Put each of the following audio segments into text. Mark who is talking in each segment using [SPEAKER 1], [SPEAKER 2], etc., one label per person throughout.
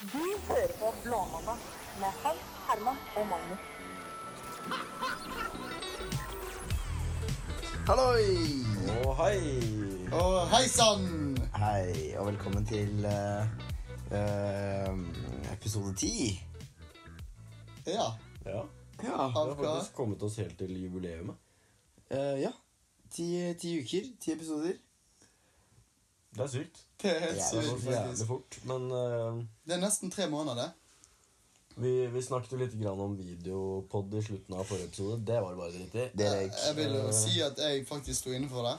[SPEAKER 1] Du hører på Blåmandag med Hans, Herman og Magnus.
[SPEAKER 2] Halloi!
[SPEAKER 3] Og hei!
[SPEAKER 2] Og hei sann!
[SPEAKER 3] Hei, og velkommen til eh, eh, episode ti.
[SPEAKER 2] Ja.
[SPEAKER 4] Ja,
[SPEAKER 3] Ja.
[SPEAKER 4] vi
[SPEAKER 2] Av
[SPEAKER 4] har
[SPEAKER 2] hva?
[SPEAKER 4] faktisk kommet oss helt til jubileumet.
[SPEAKER 3] eh, ja. Ti, ti uker, ti episoder.
[SPEAKER 4] Det er sykt.
[SPEAKER 2] Det er
[SPEAKER 3] Ja,
[SPEAKER 2] helt
[SPEAKER 4] Det
[SPEAKER 2] sykt,
[SPEAKER 4] går jævlig
[SPEAKER 2] faktisk.
[SPEAKER 4] fort. Men eh,
[SPEAKER 2] Det er nesten tre måneder.
[SPEAKER 4] vi, vi snakket jo litt grann om videopod i slutten av forrige episode. Det var det bare dritt i.
[SPEAKER 3] Det
[SPEAKER 2] Jeg,
[SPEAKER 3] røyk.
[SPEAKER 2] jeg vil jo si at jeg faktisk sto inne for det.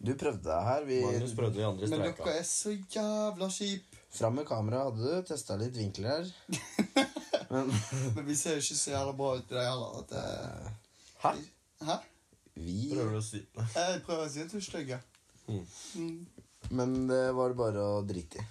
[SPEAKER 3] Eh, Du prøvde deg her.
[SPEAKER 4] Magnus
[SPEAKER 3] Vi,
[SPEAKER 4] prøvde, vi andre
[SPEAKER 2] Men
[SPEAKER 4] streika.
[SPEAKER 2] dere er så jævla kjip.
[SPEAKER 3] fram med kamera hadde du testa litt vinkler her. Men
[SPEAKER 2] Men vi ser jo ikke så jævla bra ut i dag heller. At det...
[SPEAKER 3] Hæ?
[SPEAKER 2] Hæ?
[SPEAKER 3] Vi
[SPEAKER 4] Prøver du å si
[SPEAKER 2] Jeg prøver å si at du er stygg. ja.
[SPEAKER 4] Mm.
[SPEAKER 2] Mm.
[SPEAKER 3] Men det var bare å drite i.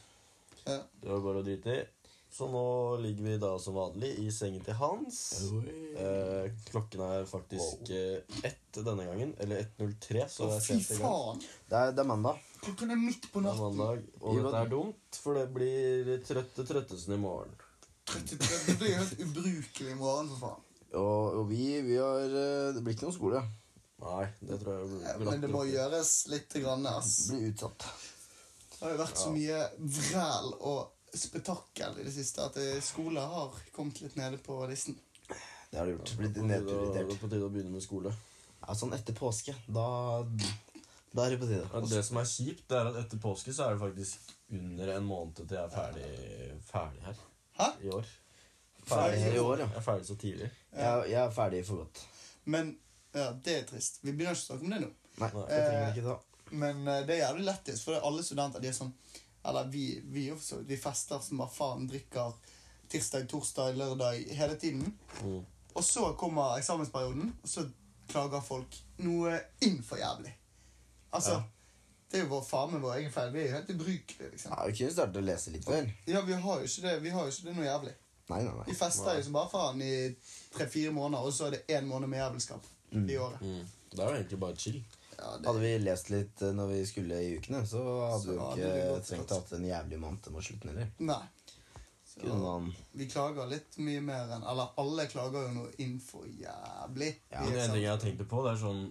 [SPEAKER 2] Ja.
[SPEAKER 4] Det var bare å drite i. Så nå ligger vi da som vanlig i sengen til Hans. Eh, klokken er faktisk eh, ett denne gangen. Eller 1.03, så
[SPEAKER 2] Å,
[SPEAKER 4] det er
[SPEAKER 2] fy
[SPEAKER 4] sent i gang.
[SPEAKER 2] faen!
[SPEAKER 3] Det er, det er mandag.
[SPEAKER 2] Klokken er midt på
[SPEAKER 4] Det er
[SPEAKER 2] natten.
[SPEAKER 4] mandag, og dette er dumt, for det blir trøtte trøttesen i morgen.
[SPEAKER 2] 33. Det blir jo helt ubrukelig i morgen, for faen.
[SPEAKER 3] Og, og vi, vi har eh, Det blir ikke noen skole.
[SPEAKER 4] Nei, det tror jeg blir
[SPEAKER 2] Ja, Men det må gjøres lite grann, ass.
[SPEAKER 3] Blir utsatt.
[SPEAKER 2] Det har jo vært så mye vræl og spetakkel i det siste at eh, skole har kommet litt nede på listen.
[SPEAKER 3] Det har det gjort. Blitt
[SPEAKER 4] På tide å-
[SPEAKER 3] nedprioritert.
[SPEAKER 4] Det er på tide å begynne med skole.
[SPEAKER 3] Ja, sånn etter påske, da, da er det på tide.
[SPEAKER 4] Ja, Det som er kjipt, det er at etter påske så er det faktisk under en måned til jeg er ferdig, ferdig her.
[SPEAKER 2] Hæ?
[SPEAKER 4] I år.
[SPEAKER 3] Ferdig her i år, ja.
[SPEAKER 4] Jeg er ferdig så tidlig.
[SPEAKER 3] Jeg, jeg er ferdig for godt.
[SPEAKER 2] Men ja, det er trist. Vi begynner ikke å snakke om det nå.
[SPEAKER 3] Nei,
[SPEAKER 4] Nei.
[SPEAKER 3] jeg trenger ikke da.
[SPEAKER 2] Men eh, det er jævlig lettest, for alle studenter de er sånn Eller vi, vi også. Vi fester som bare faen, drikker tirsdag, torsdag, lørdag hele tiden.
[SPEAKER 4] Mm.
[SPEAKER 2] Og så kommer eksamensperioden, og så klager folk noe inn for jævlig. Altså,
[SPEAKER 4] Ja.
[SPEAKER 2] det er jo vår faen meg vår egen feil. Vi er jo helt ubrukelige, liksom.
[SPEAKER 3] Ja, vi kunne starte å lese litt før.
[SPEAKER 2] Ja, vi har jo ikke det, vi har jo ikke det noe jævlig.
[SPEAKER 3] Nei, nei,
[SPEAKER 2] Vi
[SPEAKER 3] nei.
[SPEAKER 2] fester jo som bare faen i tre-fire måneder, og så er det én måned med jævelskap i året.
[SPEAKER 4] Mm. Det er jo egentlig bare chill.
[SPEAKER 2] Ja, det,
[SPEAKER 3] Hadde vi lest litt eh, når vi skulle i ukene, så hadde
[SPEAKER 2] Så
[SPEAKER 3] vi jo
[SPEAKER 2] hadde vi
[SPEAKER 3] ikke
[SPEAKER 2] gått
[SPEAKER 3] trengt å
[SPEAKER 2] godt.
[SPEAKER 3] hatt en jævlig måned mot slutten heller.
[SPEAKER 2] nei.
[SPEAKER 3] Kunne
[SPEAKER 2] Så,
[SPEAKER 3] man
[SPEAKER 2] vi klager litt mye mer enn Eller alle klager jo noe innenfor jævlig.
[SPEAKER 3] Ja,
[SPEAKER 2] Vi
[SPEAKER 4] Men
[SPEAKER 2] er
[SPEAKER 4] en
[SPEAKER 2] sant.
[SPEAKER 4] ting jeg har tenkt litt på, det er sånn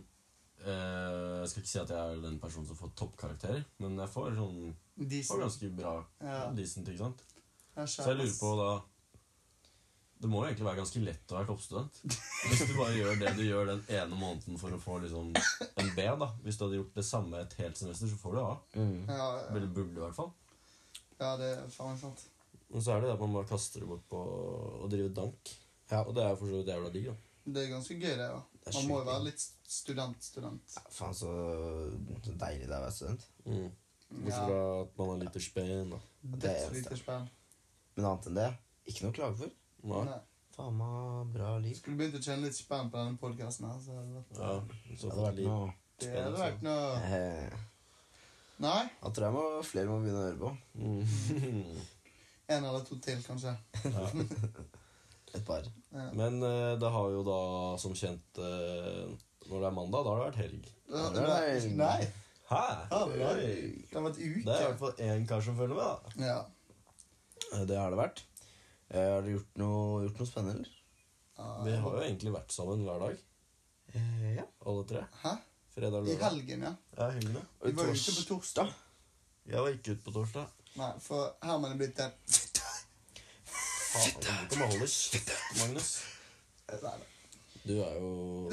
[SPEAKER 4] eh, Jeg skal ikke si at jeg er den personen som får toppkarakterer, men jeg får sånn
[SPEAKER 2] De
[SPEAKER 4] jeg
[SPEAKER 2] som
[SPEAKER 4] får ganske bra
[SPEAKER 2] Ja.
[SPEAKER 4] decent, ikke sant?
[SPEAKER 2] Ja,
[SPEAKER 4] Så jeg lurer på da Det må jo egentlig være ganske lett å være toppstudent. Hvis du bare gjør det du gjør den ene måneden for å få liksom en B. da Hvis du hadde gjort det samme et helt semester, så får du A.
[SPEAKER 3] mm.
[SPEAKER 2] Ja,
[SPEAKER 4] Eller burde, i hvert fall.
[SPEAKER 2] ja, det er faen meg sant.
[SPEAKER 4] Men så er det det at man bare kaster det bort på å drive dank.
[SPEAKER 3] Ja.
[SPEAKER 4] Og det er jo for så vidt jævla digg, da.
[SPEAKER 2] Det er ganske gøy, det. Ja.
[SPEAKER 3] Det er
[SPEAKER 2] Man må jo
[SPEAKER 3] sjukt,
[SPEAKER 2] være litt student-student.
[SPEAKER 3] ja, Faen, så så deilig det er å være student.
[SPEAKER 4] Mm. Bortsett
[SPEAKER 2] Ja,
[SPEAKER 4] fra at man er litt i spen, da.
[SPEAKER 3] det
[SPEAKER 2] det
[SPEAKER 3] er
[SPEAKER 2] er lite
[SPEAKER 3] eneste.
[SPEAKER 2] spenn.
[SPEAKER 3] Men annet enn det, ikke noe å klage for.
[SPEAKER 4] Nei.
[SPEAKER 2] Nei.
[SPEAKER 3] Faen meg bra liv.
[SPEAKER 2] Skulle begynt å kjenne litt spenn på denne podkasten her, så hadde det vært
[SPEAKER 4] Ja,
[SPEAKER 3] Det
[SPEAKER 4] så får
[SPEAKER 3] hadde vært
[SPEAKER 4] liv.
[SPEAKER 3] noe
[SPEAKER 2] Det hadde vært noe
[SPEAKER 3] eh,
[SPEAKER 2] Nei?
[SPEAKER 3] Jeg tror jeg må, flere må begynne å høre på.
[SPEAKER 4] Mm.
[SPEAKER 2] En eller to til, kanskje.
[SPEAKER 4] ja.
[SPEAKER 3] Et par.
[SPEAKER 2] Ja.
[SPEAKER 4] Men eh, det har jo da som kjent eh, Når det er mandag, da har det vært helg.
[SPEAKER 2] Ja,
[SPEAKER 3] det er
[SPEAKER 2] det
[SPEAKER 3] deilig.
[SPEAKER 2] var- Nei!
[SPEAKER 4] Hæ?
[SPEAKER 2] Ja, det var-
[SPEAKER 4] Oi.
[SPEAKER 2] Det har vært uke.
[SPEAKER 4] Det er i hvert fall én kar som følger med, da.
[SPEAKER 2] ja.
[SPEAKER 3] Eh, Det har det vært. Eh, Har dere gjort noe, gjort noe spennende, eller?
[SPEAKER 4] Vi har jo egentlig vært sammen hver dag, Eh,
[SPEAKER 3] ja.
[SPEAKER 4] alle tre.
[SPEAKER 2] Hæ?
[SPEAKER 4] Fredag,
[SPEAKER 2] I
[SPEAKER 4] lørdag.
[SPEAKER 2] helgen, ja.
[SPEAKER 4] Ja, helgene.
[SPEAKER 2] Vi var jo ute på torsdag.
[SPEAKER 4] Jeg var ikke ute på torsdag.
[SPEAKER 2] Nei, for Herman er blitt en
[SPEAKER 4] Faen, du kan bare holde kjeft, Magnus.
[SPEAKER 2] Nei, nei.
[SPEAKER 4] Du er jo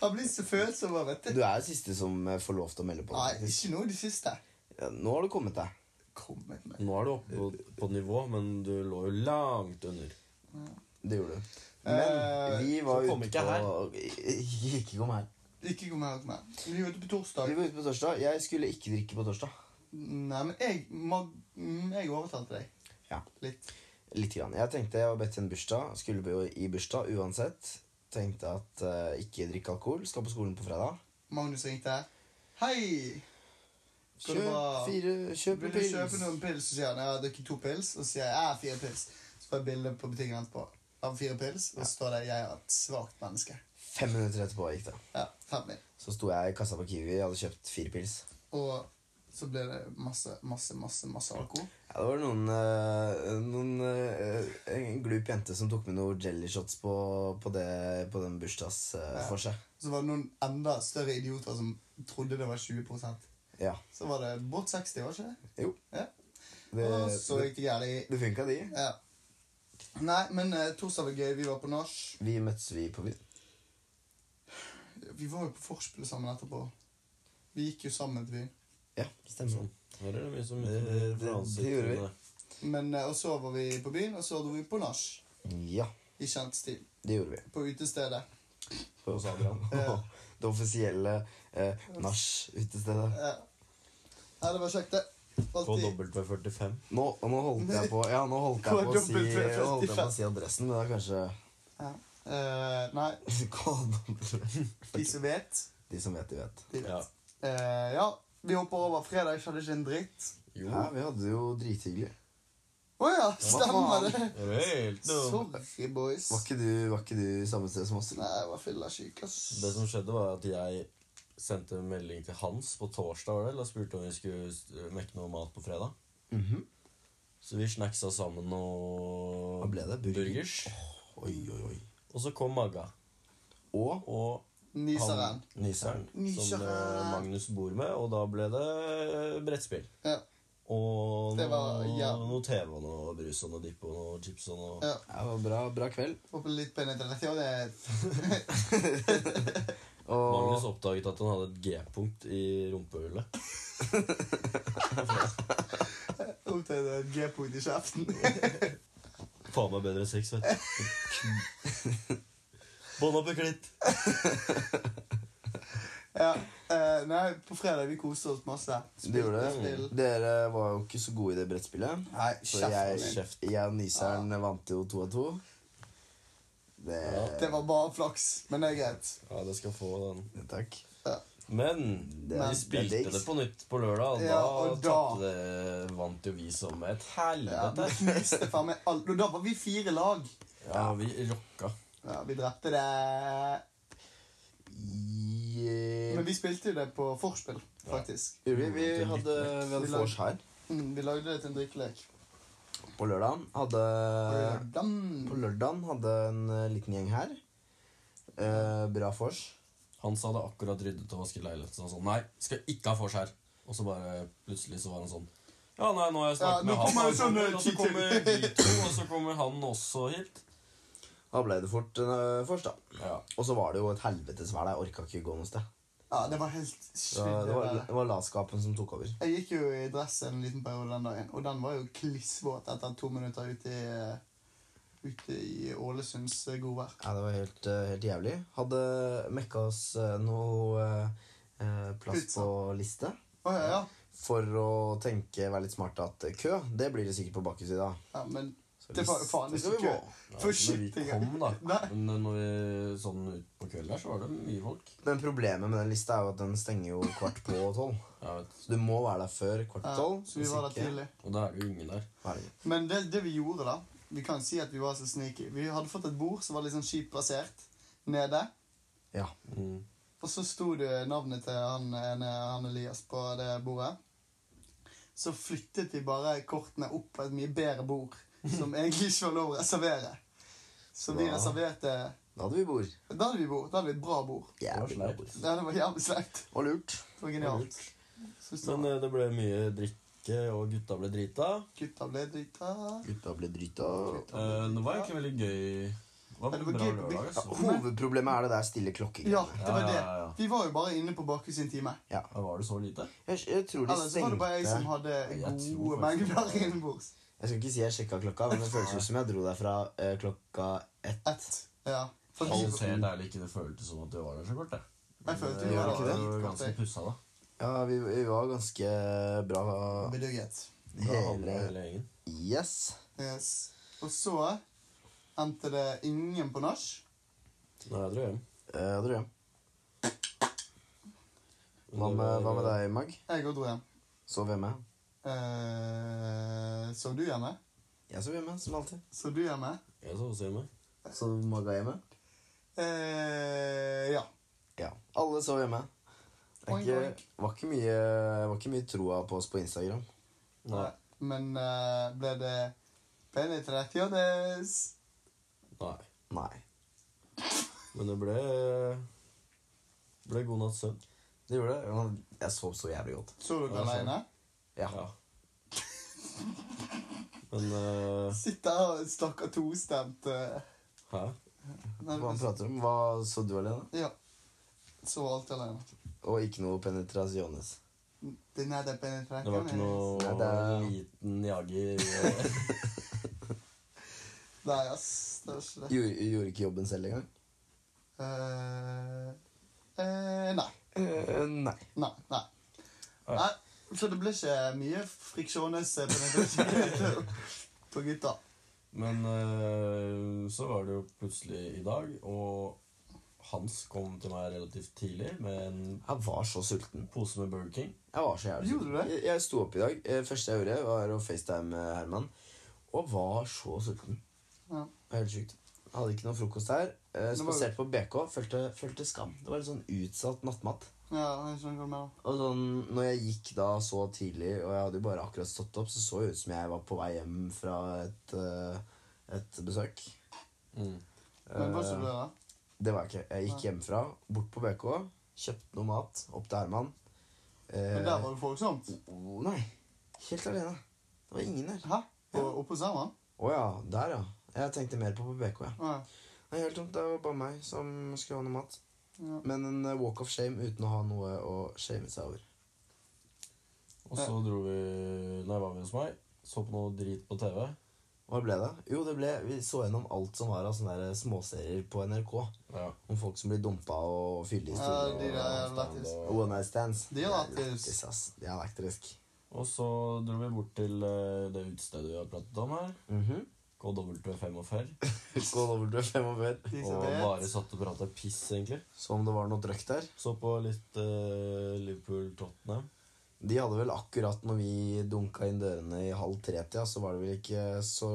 [SPEAKER 2] Han blir så følsom, bare, vet du.
[SPEAKER 3] Du er siste som eh, får lov til å melde på.
[SPEAKER 2] Nei,
[SPEAKER 3] faktisk.
[SPEAKER 2] ikke nå i det siste.
[SPEAKER 3] Ja, Nå har du kommet deg.
[SPEAKER 2] Kommet med.
[SPEAKER 4] Nå er du oppe på, på nivå, men du lå jo langt under.
[SPEAKER 3] Det gjorde du. Men
[SPEAKER 2] Eh,
[SPEAKER 3] vi var
[SPEAKER 4] så kom
[SPEAKER 3] ute
[SPEAKER 4] ikke
[SPEAKER 3] på Ikke kom her.
[SPEAKER 2] Ikke kom her, kom her. Vi var ute på torsdag.
[SPEAKER 3] Vi var ute på torsdag. Jeg skulle ikke drikke på torsdag.
[SPEAKER 2] Nei, men jeg, Mag mm, jeg overtalte deg.
[SPEAKER 3] Ja.
[SPEAKER 2] Litt.
[SPEAKER 3] Litt grann. Jeg tenkte jeg var bedt til en bursdag. Skulle jo i bursdag uansett. Tenkte at eh, ikke drikke alkohol. Skal på skolen på fredag.
[SPEAKER 2] Magnus ringte. Hei! Går det bra?
[SPEAKER 3] Kjøp fire Kjøp
[SPEAKER 2] Vil
[SPEAKER 3] en
[SPEAKER 2] du
[SPEAKER 3] pils.
[SPEAKER 2] kjøpe noen pils? Så sier han jeg har drukket to pils. Og så sier jeg jeg har fire pils. Så får jeg bilde på butikken etterpå av fire pils, og så står det 'jeg er et svakt menneske'.
[SPEAKER 3] Fem minutter etterpå gikk det.
[SPEAKER 2] Ja, fem mil.
[SPEAKER 3] Så sto jeg i kassa på Kiwi og hadde kjøpt fire pils.
[SPEAKER 2] Og så ble det masse, masse, masse masse alkohol.
[SPEAKER 3] Ja, det var noen, eh, noen eh, En glup jente som tok med noen jelly-shots på, på, det, på den bursdags eh,
[SPEAKER 2] Ja.
[SPEAKER 3] for seg.
[SPEAKER 2] Så var det noen enda større idioter som trodde det var 20
[SPEAKER 3] Ja.
[SPEAKER 2] Så var det bort 60, var ikke det?
[SPEAKER 3] Jo.
[SPEAKER 2] Ja.
[SPEAKER 3] Det,
[SPEAKER 2] Og så
[SPEAKER 3] det,
[SPEAKER 2] gikk det gærent i
[SPEAKER 3] det funka, de.
[SPEAKER 2] Ja. Nei, men eh, torsdag var gøy. Vi var på nach.
[SPEAKER 3] Vi møttes vi på Vin.
[SPEAKER 2] Vi var jo på Forspill sammen etterpå. Vi gikk jo sammen til byen.
[SPEAKER 3] Ja, stemmer sånn. det.
[SPEAKER 4] Her er Eh, det mye som
[SPEAKER 3] Det- det- det gjorde vi.
[SPEAKER 2] Men, eh, og så var vi på byen, og så dro vi på nach.
[SPEAKER 3] Ja,
[SPEAKER 2] I kjent stil.
[SPEAKER 3] det gjorde vi.
[SPEAKER 2] På utestedet.
[SPEAKER 3] På hos Adrian.
[SPEAKER 2] Ja.
[SPEAKER 3] det offisielle eh, nach-utestedet.
[SPEAKER 2] Ja. ja, det var kjekt, det.
[SPEAKER 4] På
[SPEAKER 2] Alltid.
[SPEAKER 4] W45.
[SPEAKER 3] Nå, og nå holdt jeg på Ja, nå holdt jeg på å si, nå holdt jeg på å si adressen, men det er kanskje
[SPEAKER 2] Ja. Eh, nei, de som vet,
[SPEAKER 3] De som vet, de vet.
[SPEAKER 2] de vet.
[SPEAKER 4] Ja.
[SPEAKER 2] Eh, ja, vi hopper over fredag. Skjedde ikke en dritt.
[SPEAKER 4] Jo.
[SPEAKER 3] Ja, vi hadde det jo drithyggelig.
[SPEAKER 2] Å ja, stemmer det.
[SPEAKER 4] Det var helt noe.
[SPEAKER 2] Sorry, boys.
[SPEAKER 3] Var ikke du, var ikke du samme sted som oss?
[SPEAKER 2] Nei, jeg var fyllesyk, ass.
[SPEAKER 4] Det som skjedde, var at jeg sendte en melding til Hans på torsdag var det, vel, og spurte om vi skulle eh, mekke noe mat på fredag.
[SPEAKER 3] Mhm.
[SPEAKER 4] Så vi snacksa sammen og
[SPEAKER 3] Hva ble det? Burger?
[SPEAKER 4] burgers.
[SPEAKER 3] Oi, oi, oi.
[SPEAKER 4] Og så kom Magga.
[SPEAKER 3] Og
[SPEAKER 4] Og
[SPEAKER 2] Nyseren.
[SPEAKER 4] han- Nyseren. Som
[SPEAKER 2] Nyseren.
[SPEAKER 4] eh, Magnus bor med. Og da ble det eh, brettspill.
[SPEAKER 2] Ja.
[SPEAKER 4] Og
[SPEAKER 2] Det var
[SPEAKER 4] noe,
[SPEAKER 2] jævlig.
[SPEAKER 4] noe TV og noe brus og noe dipp og noe chips og noe
[SPEAKER 2] ja.
[SPEAKER 3] ja, det var bra, bra kveld.
[SPEAKER 2] Håper litt på en internett. Ja, det
[SPEAKER 4] Magnus
[SPEAKER 3] Og
[SPEAKER 4] oppdaget at han hadde et G-punkt i rumpehullet.
[SPEAKER 2] er et G-punkt i kjeften.
[SPEAKER 4] Faen meg bedre sex, vet du. Bånd opp i klitt.
[SPEAKER 2] ja. eh, nei, på fredag vi koste oss masse.
[SPEAKER 3] du gjorde det.
[SPEAKER 2] Spill.
[SPEAKER 3] Dere var jo ikke så gode i det brettspillet.
[SPEAKER 2] Nei,
[SPEAKER 3] Så jeg,
[SPEAKER 2] kjeften.
[SPEAKER 4] Kjeft.
[SPEAKER 3] jeg og Nyseren vant jo to av to. Det
[SPEAKER 4] Ja.
[SPEAKER 2] Det var bare flaks, men det er greit.
[SPEAKER 4] Ja, det skal få den.
[SPEAKER 3] Takk.
[SPEAKER 2] Ja.
[SPEAKER 4] Men
[SPEAKER 3] Det-
[SPEAKER 4] vi
[SPEAKER 3] det er
[SPEAKER 4] spilte
[SPEAKER 3] diggs.
[SPEAKER 4] det på nytt på lørdag, og da,
[SPEAKER 2] Ja, og da-
[SPEAKER 4] tapte det, vant jo vi som et
[SPEAKER 2] Ja,
[SPEAKER 4] helvete.
[SPEAKER 2] vi knuste faen meg alt. Og da var vi fire lag.
[SPEAKER 4] Ja, vi rocka.
[SPEAKER 2] Ja, vi drepte det. Men
[SPEAKER 3] Yeah.
[SPEAKER 2] vi spilte jo det på vorspiel, faktisk.
[SPEAKER 3] Vi, vi, hadde, vi hadde vors her
[SPEAKER 2] Mm, vi lagde det til en drikkelek.
[SPEAKER 3] på lørdagen. Hadde På
[SPEAKER 2] Hvordan?
[SPEAKER 3] lørdagen hadde en eh, liten gjeng her. Eh, bra vors.
[SPEAKER 4] Hans hadde akkurat ryddet og vasket leiligheten, så han sånn Nei, skal ikke ha vors her. Og så bare plutselig så var han sånn Ja, nei, nå har jeg
[SPEAKER 2] Ja,
[SPEAKER 4] snakket
[SPEAKER 2] nå
[SPEAKER 4] med
[SPEAKER 2] kommer
[SPEAKER 4] han,
[SPEAKER 2] jo sånne
[SPEAKER 4] og så
[SPEAKER 2] ting
[SPEAKER 4] kommer
[SPEAKER 2] til.»
[SPEAKER 4] de to, og så kommer han også hit.
[SPEAKER 3] Da ble det fort en eh, vors, da.
[SPEAKER 4] Ja.
[SPEAKER 3] Og så var det jo et helvetes vær der. Jeg orka ikke gå noe sted.
[SPEAKER 2] Ja, det var helt
[SPEAKER 3] Det var,
[SPEAKER 2] sjukt.
[SPEAKER 3] det
[SPEAKER 2] det
[SPEAKER 3] var,
[SPEAKER 2] der.
[SPEAKER 3] det var latskapen som tok over.
[SPEAKER 2] Jeg gikk jo i dress en liten periode den dagen, og den var jo klissvåt etter to minutter ute i, ute i Ålesunds eh, godvær.
[SPEAKER 3] Ja, det var helt, eh, helt jævlig. Hadde mekka oss eh, noe eh, plass
[SPEAKER 2] Pizza.
[SPEAKER 3] på liste.
[SPEAKER 2] Å ja, ja.
[SPEAKER 3] For å tenke, være litt smart at eh, kø, det blir det sikkert på bakkes i dag.
[SPEAKER 2] ja, men
[SPEAKER 3] Så
[SPEAKER 2] det var jo
[SPEAKER 3] hvis-
[SPEAKER 2] faen
[SPEAKER 3] det skal
[SPEAKER 2] ikke
[SPEAKER 3] vi
[SPEAKER 2] kø.
[SPEAKER 3] på.
[SPEAKER 4] Ja, altså,
[SPEAKER 2] For
[SPEAKER 4] når
[SPEAKER 2] shit,
[SPEAKER 4] vi
[SPEAKER 2] jeg-
[SPEAKER 4] kom, da.
[SPEAKER 2] Nei.
[SPEAKER 4] Men når vi sånn ut på kvelden her, så var det mye folk.
[SPEAKER 3] Men problemet med den lista er jo at den stenger jo kvart på tolv.
[SPEAKER 4] Jeg vet.
[SPEAKER 3] Så du må være der før kvart på
[SPEAKER 2] Ja,
[SPEAKER 3] tolv.
[SPEAKER 2] så vi
[SPEAKER 3] hvis
[SPEAKER 2] var der
[SPEAKER 3] ikke-
[SPEAKER 2] tidlig.
[SPEAKER 4] Og da er det jo ingen der.
[SPEAKER 3] Herregud.
[SPEAKER 2] Men det, det vi gjorde, da Vi kan si at vi var så sneaky. Vi hadde fått et bord som var litt sånn kjipt plassert nede.
[SPEAKER 3] Ja.
[SPEAKER 4] Mm.
[SPEAKER 2] Og så sto det navnet til han, ene- han Elias på det bordet. Så flyttet de bare kortene opp på et mye bedre bord, som egentlig ikke var lov å reservere. Så vi
[SPEAKER 3] Ja.
[SPEAKER 2] reserverte
[SPEAKER 3] Da hadde vi bord.
[SPEAKER 2] Da hadde vi bord. Da hadde vi et bra bord.
[SPEAKER 4] Jævlig bra bord.
[SPEAKER 2] Ja, det var jævlig slemt.
[SPEAKER 3] Og lurt.
[SPEAKER 2] Det var genialt. Synes det
[SPEAKER 4] Men
[SPEAKER 2] var.
[SPEAKER 4] eh, det ble mye drikke, og gutta ble drita.
[SPEAKER 2] Gutta ble drita.
[SPEAKER 3] Gutta ble drita.
[SPEAKER 4] Eh, det var egentlig veldig gøy. Det var
[SPEAKER 2] Ja, det var
[SPEAKER 4] bra
[SPEAKER 2] gøy-
[SPEAKER 4] lørdag,
[SPEAKER 3] Ja,
[SPEAKER 4] altså.
[SPEAKER 3] hovedproblemet er det der stille klokkegreiene.
[SPEAKER 2] Ja, det var
[SPEAKER 4] Ja,
[SPEAKER 2] det.
[SPEAKER 4] ja, ja.
[SPEAKER 2] Vi var jo bare inne på Bakhus sin time.
[SPEAKER 4] Ja, Var det så lite?
[SPEAKER 3] Jeg, jeg tror de
[SPEAKER 2] Eller så var det bare jeg som
[SPEAKER 3] stengte
[SPEAKER 2] hadde
[SPEAKER 4] jeg tror
[SPEAKER 2] gode
[SPEAKER 4] faktisk det var-
[SPEAKER 2] mengder innbords.
[SPEAKER 3] Jeg skal ikke si jeg sjekka klokka, men det føles ut som jeg dro derfra eh, klokka ett.
[SPEAKER 2] Ett. Ja. For vi-
[SPEAKER 4] Hans helt ærlig ikke det føltes som at du var der så kort. det.
[SPEAKER 2] Jeg følte
[SPEAKER 4] Men,
[SPEAKER 2] vi
[SPEAKER 4] eh,
[SPEAKER 2] var
[SPEAKER 4] det
[SPEAKER 2] der
[SPEAKER 4] var
[SPEAKER 2] dritkort,
[SPEAKER 4] ganske
[SPEAKER 2] jeg.
[SPEAKER 4] pussa, da.
[SPEAKER 3] Ja, vi, vi var ganske bra
[SPEAKER 2] Bedugget.
[SPEAKER 4] Da handla
[SPEAKER 3] hele
[SPEAKER 4] hele gjengen.
[SPEAKER 3] Yes.
[SPEAKER 2] Yes. Og så endte det ingen på nach.
[SPEAKER 4] Nei, jeg dro hjem.
[SPEAKER 3] Eh, dro hjem.
[SPEAKER 4] Men
[SPEAKER 3] Hva
[SPEAKER 4] det
[SPEAKER 3] med,
[SPEAKER 4] var-
[SPEAKER 3] hva med deg, Mag?
[SPEAKER 2] Jeg òg dro hjem.
[SPEAKER 3] Sov hjemme?
[SPEAKER 2] Eh, sov du hjemme?
[SPEAKER 3] Jeg sov hjemme, som alltid.
[SPEAKER 2] Sov du hjemme?
[SPEAKER 4] Jeg sov også hjemme.
[SPEAKER 3] Sov Maga hjemme?
[SPEAKER 2] Eh, ja.
[SPEAKER 3] Ja. Alle sov hjemme. Det er
[SPEAKER 2] Oink,
[SPEAKER 3] ikke, var, ikke mye, var ikke mye troa på oss på Instagram.
[SPEAKER 4] Nei.
[SPEAKER 2] Men eh, ble det E penetrert, Jonis?
[SPEAKER 4] Nei.
[SPEAKER 3] Nei.
[SPEAKER 4] Men det ble ble god natts søvn.
[SPEAKER 3] Det gjorde det. men Jeg sov så jævlig godt.
[SPEAKER 2] Så du
[SPEAKER 4] Ja,
[SPEAKER 2] den
[SPEAKER 4] sånn.
[SPEAKER 2] aleine?
[SPEAKER 3] Ja.
[SPEAKER 4] Men eh,
[SPEAKER 2] Sitter her og snakker tostemt. eh,
[SPEAKER 4] Hæ?
[SPEAKER 3] Hva
[SPEAKER 2] nærmest.
[SPEAKER 3] prater du om? Hva så du alene?
[SPEAKER 2] Ja. Sov alltid aleine.
[SPEAKER 3] Og ikke noe penetrasjones.
[SPEAKER 2] Den er det E penetrert.
[SPEAKER 4] Det var ikke noe
[SPEAKER 3] Nei, det er-
[SPEAKER 4] liten jager eh,
[SPEAKER 2] Nei, ass. Det var ikke det.
[SPEAKER 3] Gjorde, gjorde ikke jobben selv engang?
[SPEAKER 2] Eh, eh, nei.
[SPEAKER 3] Uh, nei.
[SPEAKER 2] Nei. nei.
[SPEAKER 4] Nei.
[SPEAKER 2] nei. Så det ble ikke mye friksjones eh, penetrasjon på gutta.
[SPEAKER 4] Men eh, så var det jo plutselig i dag, og Hans kom til meg relativt tidlig med en
[SPEAKER 3] Jeg var så sulten.
[SPEAKER 4] pose med Burger King.
[SPEAKER 3] Jeg var så jævlig
[SPEAKER 2] Gjorde
[SPEAKER 3] sulten.
[SPEAKER 2] du det?
[SPEAKER 3] Jeg, jeg sto opp i dag. Eh, første jeg gjorde, var å facetime med Herman. Og var så sulten.
[SPEAKER 2] Ja.
[SPEAKER 3] Det var Helt sjukt. Hadde ikke noe frokost her. Eh,
[SPEAKER 2] Det var-
[SPEAKER 3] spaserte på BK. Følte, følte skam. Det var litt sånn utsatt nattmat.
[SPEAKER 2] Ja, jeg skjønner hva du mener.
[SPEAKER 3] Og sånn, når jeg gikk da så tidlig, og jeg hadde jo bare akkurat stått opp, så så det ut som jeg var på vei hjem fra et, eh, et besøk.
[SPEAKER 2] Men hva så
[SPEAKER 3] Eh,
[SPEAKER 2] du det, da?
[SPEAKER 3] det var jeg ikke. Jeg gikk hjemmefra, bort på BK, kjøpte noe mat, opp til Herman. Eh,
[SPEAKER 2] Men der var det folksomt.
[SPEAKER 3] oh, Nei. Helt alene. Det var ingen der.
[SPEAKER 2] Hæ? På- Oppe hos Herman?
[SPEAKER 3] Å ja, der, ja. Jeg tenkte mer på på BK, ja.
[SPEAKER 2] Nei.
[SPEAKER 3] Nei, helt tomt. Det var bare meg som skulle ha noe mat.
[SPEAKER 2] Ja.
[SPEAKER 3] Men en eh, walk of shame uten å ha noe å shame seg over.
[SPEAKER 4] Og så dro vi Nei, var vi hos meg. Så på noe drit på TV.
[SPEAKER 3] Hva ble det? Jo, det ble, vi så gjennom alt som var av sånne der småserier på NRK.
[SPEAKER 4] Ja.
[SPEAKER 3] Om folk som blir dumpa og
[SPEAKER 2] Ja,
[SPEAKER 3] fyllehistorier.
[SPEAKER 2] de der er
[SPEAKER 4] stand
[SPEAKER 2] lættis.
[SPEAKER 4] og-
[SPEAKER 3] og One night stands.
[SPEAKER 2] De er lættis.
[SPEAKER 3] lættis, ass. De er elektrisk.
[SPEAKER 4] Og så dro vi bort til eh, det utestedet vi har pratet om her.
[SPEAKER 3] Mm
[SPEAKER 4] KW45.
[SPEAKER 3] Skål over til 45.
[SPEAKER 2] De som
[SPEAKER 4] Og
[SPEAKER 2] vet.
[SPEAKER 4] bare satt og prata piss, egentlig.
[SPEAKER 3] Som om det var noe drøkt der.
[SPEAKER 4] Så på litt eh, Liverpool-Tottenham.
[SPEAKER 3] De hadde vel akkurat når vi dunka inn dørene i halv tre-tida, så var det vel ikke så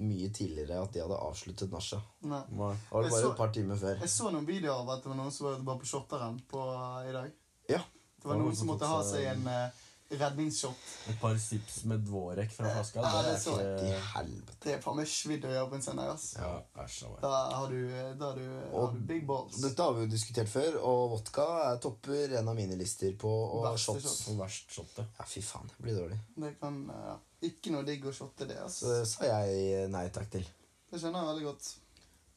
[SPEAKER 3] mye tidligere at de hadde avsluttet nachet.
[SPEAKER 2] Nei.
[SPEAKER 4] Nei.
[SPEAKER 3] Det var
[SPEAKER 2] Jeg
[SPEAKER 3] det bare
[SPEAKER 2] så-
[SPEAKER 3] et par timer før.
[SPEAKER 2] Jeg så noen videoer av at det var noen som var bare på shotteren på, i dag.
[SPEAKER 3] Ja.
[SPEAKER 2] Det var noen som måtte ha seg en eh, redningsshot.
[SPEAKER 4] Et par sips med Dvorek fra flaska.
[SPEAKER 2] Ja,
[SPEAKER 4] Det
[SPEAKER 2] det
[SPEAKER 4] er
[SPEAKER 2] så
[SPEAKER 3] I
[SPEAKER 4] ikke
[SPEAKER 3] helvete.
[SPEAKER 2] Det er faen meg svidd å gjøre på en søndag. ass.
[SPEAKER 4] Ja, æsj av meg.
[SPEAKER 2] Da har du, eh, da har du,
[SPEAKER 3] Og-
[SPEAKER 2] har du big balls.
[SPEAKER 3] Dette har vi jo diskutert før, og vodka er topper en av mine lister på og
[SPEAKER 2] Verste
[SPEAKER 3] shots.
[SPEAKER 2] shot.
[SPEAKER 4] Som verst shotet.
[SPEAKER 3] Ja, fy faen. Det blir dårlig.
[SPEAKER 2] Det kan eh, Ikke noe digg å shotte det. ass.
[SPEAKER 3] Så det sa jeg nei takk til.
[SPEAKER 2] Det skjønner jeg veldig godt.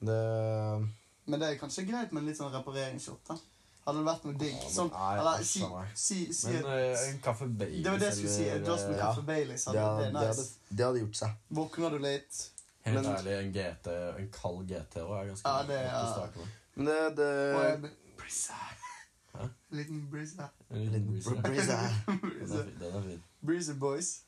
[SPEAKER 3] Det
[SPEAKER 2] Men det er kanskje greit med litt sånn repareringsshot. da. Hadde det vært noe digg
[SPEAKER 4] Ja, men
[SPEAKER 2] sånn,
[SPEAKER 4] nei,
[SPEAKER 2] Eller
[SPEAKER 4] æsj
[SPEAKER 2] si,
[SPEAKER 4] av meg.
[SPEAKER 2] si, si
[SPEAKER 4] Men eh, en kaffe Baileys
[SPEAKER 2] Det var det jeg skulle si.
[SPEAKER 4] eller,
[SPEAKER 2] En glass med
[SPEAKER 4] eh,
[SPEAKER 2] kaffe Baileys.
[SPEAKER 3] det,
[SPEAKER 2] hadde- Det
[SPEAKER 3] hadde,
[SPEAKER 2] er
[SPEAKER 3] det, hadde,
[SPEAKER 2] nice.
[SPEAKER 3] det hadde gjort seg.
[SPEAKER 2] Våkner du litt?
[SPEAKER 4] Helt
[SPEAKER 3] men-
[SPEAKER 4] ærlig, en GT, en kald GT også er ganske
[SPEAKER 2] Ja, det er-
[SPEAKER 4] godt å starte med.
[SPEAKER 3] Men det, det
[SPEAKER 2] Og en brisa.
[SPEAKER 4] Eh, Hæ?
[SPEAKER 2] En liten brisa.
[SPEAKER 4] En
[SPEAKER 3] Litt
[SPEAKER 4] liten breezer.
[SPEAKER 3] breeze her.
[SPEAKER 4] Den er
[SPEAKER 2] brisa.
[SPEAKER 4] fin- Den er fin.
[SPEAKER 2] Breezer boys.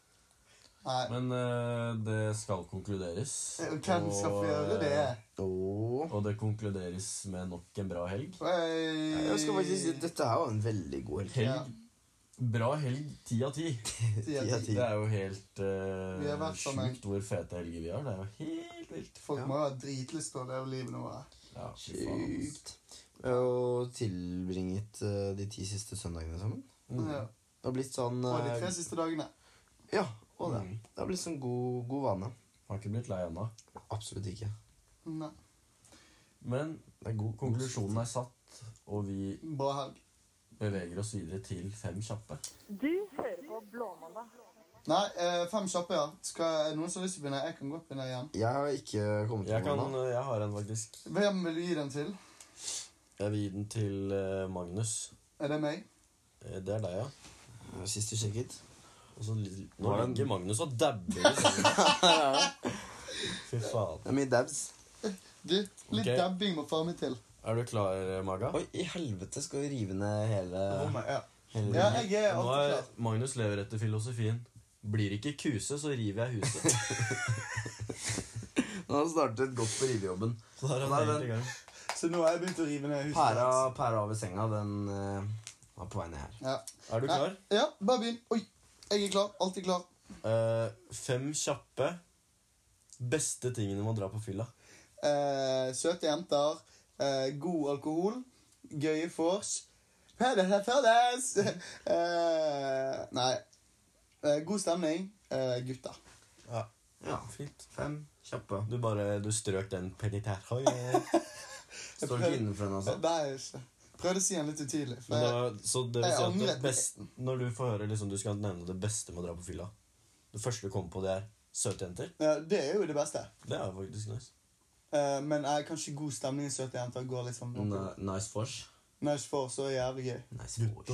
[SPEAKER 2] Nei, Eh,
[SPEAKER 4] Men eh, det skal konkluderes.
[SPEAKER 2] og hvem skal få
[SPEAKER 4] Og,
[SPEAKER 2] gjøre det?
[SPEAKER 4] eh,
[SPEAKER 3] Åh.
[SPEAKER 4] Og det konkluderes med nok en bra helg.
[SPEAKER 2] Oi.
[SPEAKER 3] Jeg skal faktisk si Dette her var en veldig god helg.
[SPEAKER 2] Ja.
[SPEAKER 4] Helg. Bra helg ti av ti.
[SPEAKER 2] Ti av
[SPEAKER 3] Ti av
[SPEAKER 2] ti.
[SPEAKER 3] ti.
[SPEAKER 4] Det er jo helt eh,
[SPEAKER 2] Vi har vært som en-
[SPEAKER 4] sjukt hvor fete helger vi har. Det er jo helt vilt.
[SPEAKER 2] Folk
[SPEAKER 3] Ja.
[SPEAKER 2] må jo ha dritlyst på å leve livet nå. da.
[SPEAKER 4] Ja, fy faen, ass.
[SPEAKER 3] Sjukt. Vi har jo tilbringet eh, de ti siste søndagene sammen.
[SPEAKER 4] Mm.
[SPEAKER 2] Ja.
[SPEAKER 3] Det har blitt sånn
[SPEAKER 2] Og de
[SPEAKER 3] eh,
[SPEAKER 2] tre siste dagene.
[SPEAKER 3] Ja, og det.
[SPEAKER 4] Mm.
[SPEAKER 3] Det har blitt sånn god, god vane.
[SPEAKER 4] Har ikke blitt lei ennå.
[SPEAKER 3] Absolutt ikke.
[SPEAKER 2] Nei.
[SPEAKER 4] Men
[SPEAKER 3] Det er god
[SPEAKER 4] konklusjonen er satt, og vi
[SPEAKER 2] Bra helg.
[SPEAKER 4] beveger oss videre til fem kjappe.
[SPEAKER 1] Du hører på Blåmandag.
[SPEAKER 2] Nei, eh, fem kjappe, ja. Skal er det noen som har lyst til å begynne? Jeg kan godt begynne igjen.
[SPEAKER 3] Jeg har ikke kommet
[SPEAKER 4] Jeg,
[SPEAKER 3] til
[SPEAKER 4] kan, eh,
[SPEAKER 3] noen da.
[SPEAKER 4] jeg har en, faktisk.
[SPEAKER 2] Hvem vil du gi den til?
[SPEAKER 4] Jeg vil gi den til eh, Magnus.
[SPEAKER 2] Er det meg?
[SPEAKER 4] Eh, Det er deg, ja.
[SPEAKER 3] Sist du sjekket.
[SPEAKER 4] Og så, li- nå
[SPEAKER 3] Var det en-
[SPEAKER 4] ligger Magnus og dabber. i sengen. Fy faen.
[SPEAKER 3] Det er mye dabs.
[SPEAKER 2] Du, litt
[SPEAKER 4] Ok.
[SPEAKER 2] dabbing må faen meg til.
[SPEAKER 4] Er du klar, eh, Maga?
[SPEAKER 3] Oi, i helvete skal vi rive ned hele,
[SPEAKER 2] Ja.
[SPEAKER 3] hele
[SPEAKER 2] ja, jeg er
[SPEAKER 4] Nå
[SPEAKER 2] alltid
[SPEAKER 4] er
[SPEAKER 2] klar.
[SPEAKER 4] Magnus lever etter filosofien. Blir ikke kuse, så river jeg huset.
[SPEAKER 3] Nå har han startet godt på rivejobben.
[SPEAKER 4] Så da er han
[SPEAKER 3] Nei,
[SPEAKER 4] helt
[SPEAKER 3] men-
[SPEAKER 4] i gang.
[SPEAKER 2] Så nå har jeg begynt å rive ned huset.
[SPEAKER 3] Pæra, pæra over senga, den eh, var på vei ned her.
[SPEAKER 2] Ja.
[SPEAKER 4] Er du
[SPEAKER 2] Nei.
[SPEAKER 4] klar?
[SPEAKER 2] ja, bare begynn. Oi, jeg er klar. Alltid klar.
[SPEAKER 4] Eh, fem kjappe beste tingene med å dra på fylla.
[SPEAKER 2] Eh, søte jenter. Eh, god alkohol. Gøye vors. Paradise Paradise! Eh, nei. Eh, god stemning, eh, gutter.
[SPEAKER 4] Ja.
[SPEAKER 3] Ja, fint. Fem kjappe.
[SPEAKER 4] Du bare du strøk den penitærhøy.
[SPEAKER 3] Står ikke innenfor den, altså.
[SPEAKER 2] Nei, ikke. Prøvde å si den litt utydelig. For
[SPEAKER 4] Men
[SPEAKER 2] jeg,
[SPEAKER 4] da, så det vil
[SPEAKER 2] Jeg
[SPEAKER 4] si at det
[SPEAKER 2] angret.
[SPEAKER 4] beste, når du får høre liksom, du skal nevne det beste med å dra på fylla Det første du kommer på, det er søte jenter.
[SPEAKER 2] ja, Eh, det er jo det beste.
[SPEAKER 4] Det er jo faktisk nice.
[SPEAKER 2] Eh, men jeg kan ikke god stemning i søte jenter går litt sånn
[SPEAKER 3] Ni- Nice vors.
[SPEAKER 2] Når jeg ikke får, så er det jævlig gøy.
[SPEAKER 3] Nice vors.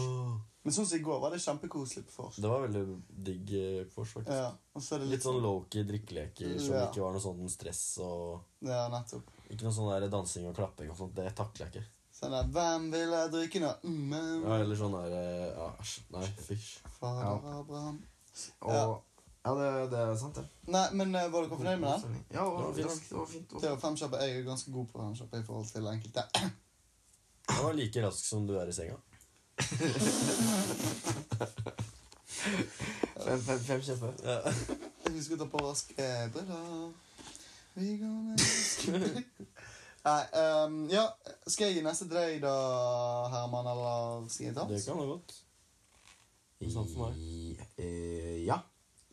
[SPEAKER 2] Men sånn som i går var det kjempekoselig på vors.
[SPEAKER 4] Det var veldig digg eh, vors, faktisk.
[SPEAKER 2] Ja, og så er det
[SPEAKER 4] Litt sånn low-key drikkeleker som
[SPEAKER 2] Ja.
[SPEAKER 4] ikke var noe sånn stress og
[SPEAKER 2] Ja, nettopp.
[SPEAKER 4] Ikke noe sånn der dansing og klapping og sånt. Det takler jeg ikke.
[SPEAKER 2] Sånn der Hvem ville drikke nå? Mm, men-
[SPEAKER 4] Ja, eller sånn der eh, ja, Æsj. Nei, fysj.
[SPEAKER 2] Fader
[SPEAKER 3] Ja.
[SPEAKER 2] Abraham.
[SPEAKER 3] Og Ja, det, det er sant, det.
[SPEAKER 2] Nei, men eh, var dere fornøyd med den?
[SPEAKER 3] Ja, det var
[SPEAKER 4] Det var
[SPEAKER 3] fint. Det var fint.
[SPEAKER 2] Det var fem kjappe. Jeg er ganske god på fem kjappe i forhold til enkelte.
[SPEAKER 4] Han var like rask som du er i senga.
[SPEAKER 3] Fem, fem, fem kjappe.
[SPEAKER 2] Jeg husker å ta på raske briller. Vi går med raske- Nei, ehm, ja. Skal jeg gi neste til deg, da, Herman, eller skal jeg ta?
[SPEAKER 4] Det kan være godt. Sånn for meg.
[SPEAKER 3] I, eh, ja.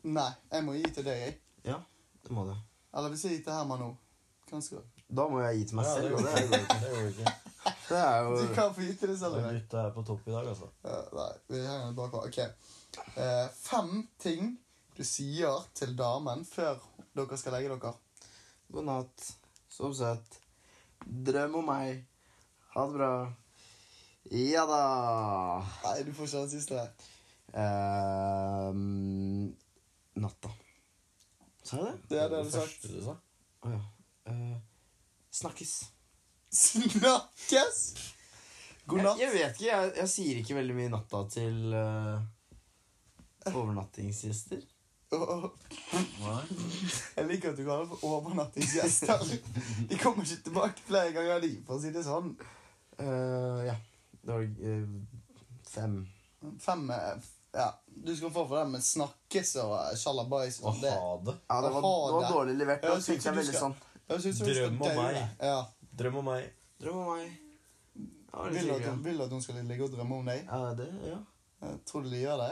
[SPEAKER 2] Nei, jeg må gi til deg, jeg.
[SPEAKER 3] Ja, det må det.
[SPEAKER 2] Eller hvis jeg gir til Herman nå. Hva skal du?
[SPEAKER 3] Da må jeg gi til meg
[SPEAKER 4] Ja, det
[SPEAKER 3] selv, og
[SPEAKER 4] går
[SPEAKER 3] det,
[SPEAKER 4] ikke. Det går ikke.
[SPEAKER 3] det er jo
[SPEAKER 2] Du kan få gi til deg selv i
[SPEAKER 4] Ja,
[SPEAKER 2] dag.
[SPEAKER 4] Gutta er på topp i dag, altså.
[SPEAKER 2] Ja, nei, vi henger litt bakpå. Ok. Eh, fem ting du sier til damen før dere skal legge dere.
[SPEAKER 3] God natt. Sov søtt. Drøm om meg. Ha det bra. Ja da.
[SPEAKER 2] Nei, du får ikke den siste.
[SPEAKER 3] Ehm, natta. Sa jeg det?
[SPEAKER 2] Det er det du har sagt.
[SPEAKER 4] første du sa.
[SPEAKER 3] Å ja. Eh, snakkes.
[SPEAKER 2] Snakkes! God natt.
[SPEAKER 3] Jeg, jeg vet ikke. Jeg, jeg sier ikke veldig mye natta til eh, overnattingsgjester.
[SPEAKER 2] Åh, åh. Jeg liker at du kaller det for overnattingsgjester. De kommer ikke tilbake flere ganger, de, for å si det sånn.
[SPEAKER 3] Eh, ja. Det var eh, fem.
[SPEAKER 2] Fem eh, Ja, du skal få for det med snakkes og eh, sjalabais
[SPEAKER 4] Å
[SPEAKER 2] og det.
[SPEAKER 4] ha det.
[SPEAKER 3] Ja, det var,
[SPEAKER 2] Aha,
[SPEAKER 3] det var
[SPEAKER 2] det-
[SPEAKER 3] dårlig levert.
[SPEAKER 2] Ja,
[SPEAKER 3] Da
[SPEAKER 2] jeg synes
[SPEAKER 3] tenkte jeg
[SPEAKER 2] du
[SPEAKER 3] veldig
[SPEAKER 2] skal-
[SPEAKER 3] sånn
[SPEAKER 2] Jeg synes du skal
[SPEAKER 4] Drøm om
[SPEAKER 2] døye.
[SPEAKER 4] meg.
[SPEAKER 2] Ja.
[SPEAKER 4] Drøm om meg.
[SPEAKER 3] Drøm om meg. Ja, det
[SPEAKER 2] Vil,
[SPEAKER 3] liker
[SPEAKER 2] at
[SPEAKER 3] jeg.
[SPEAKER 2] hun, vil at hun skal ligge og drømme om deg?
[SPEAKER 3] Ja, det, ja.
[SPEAKER 2] Eh, Tror du de gjør det?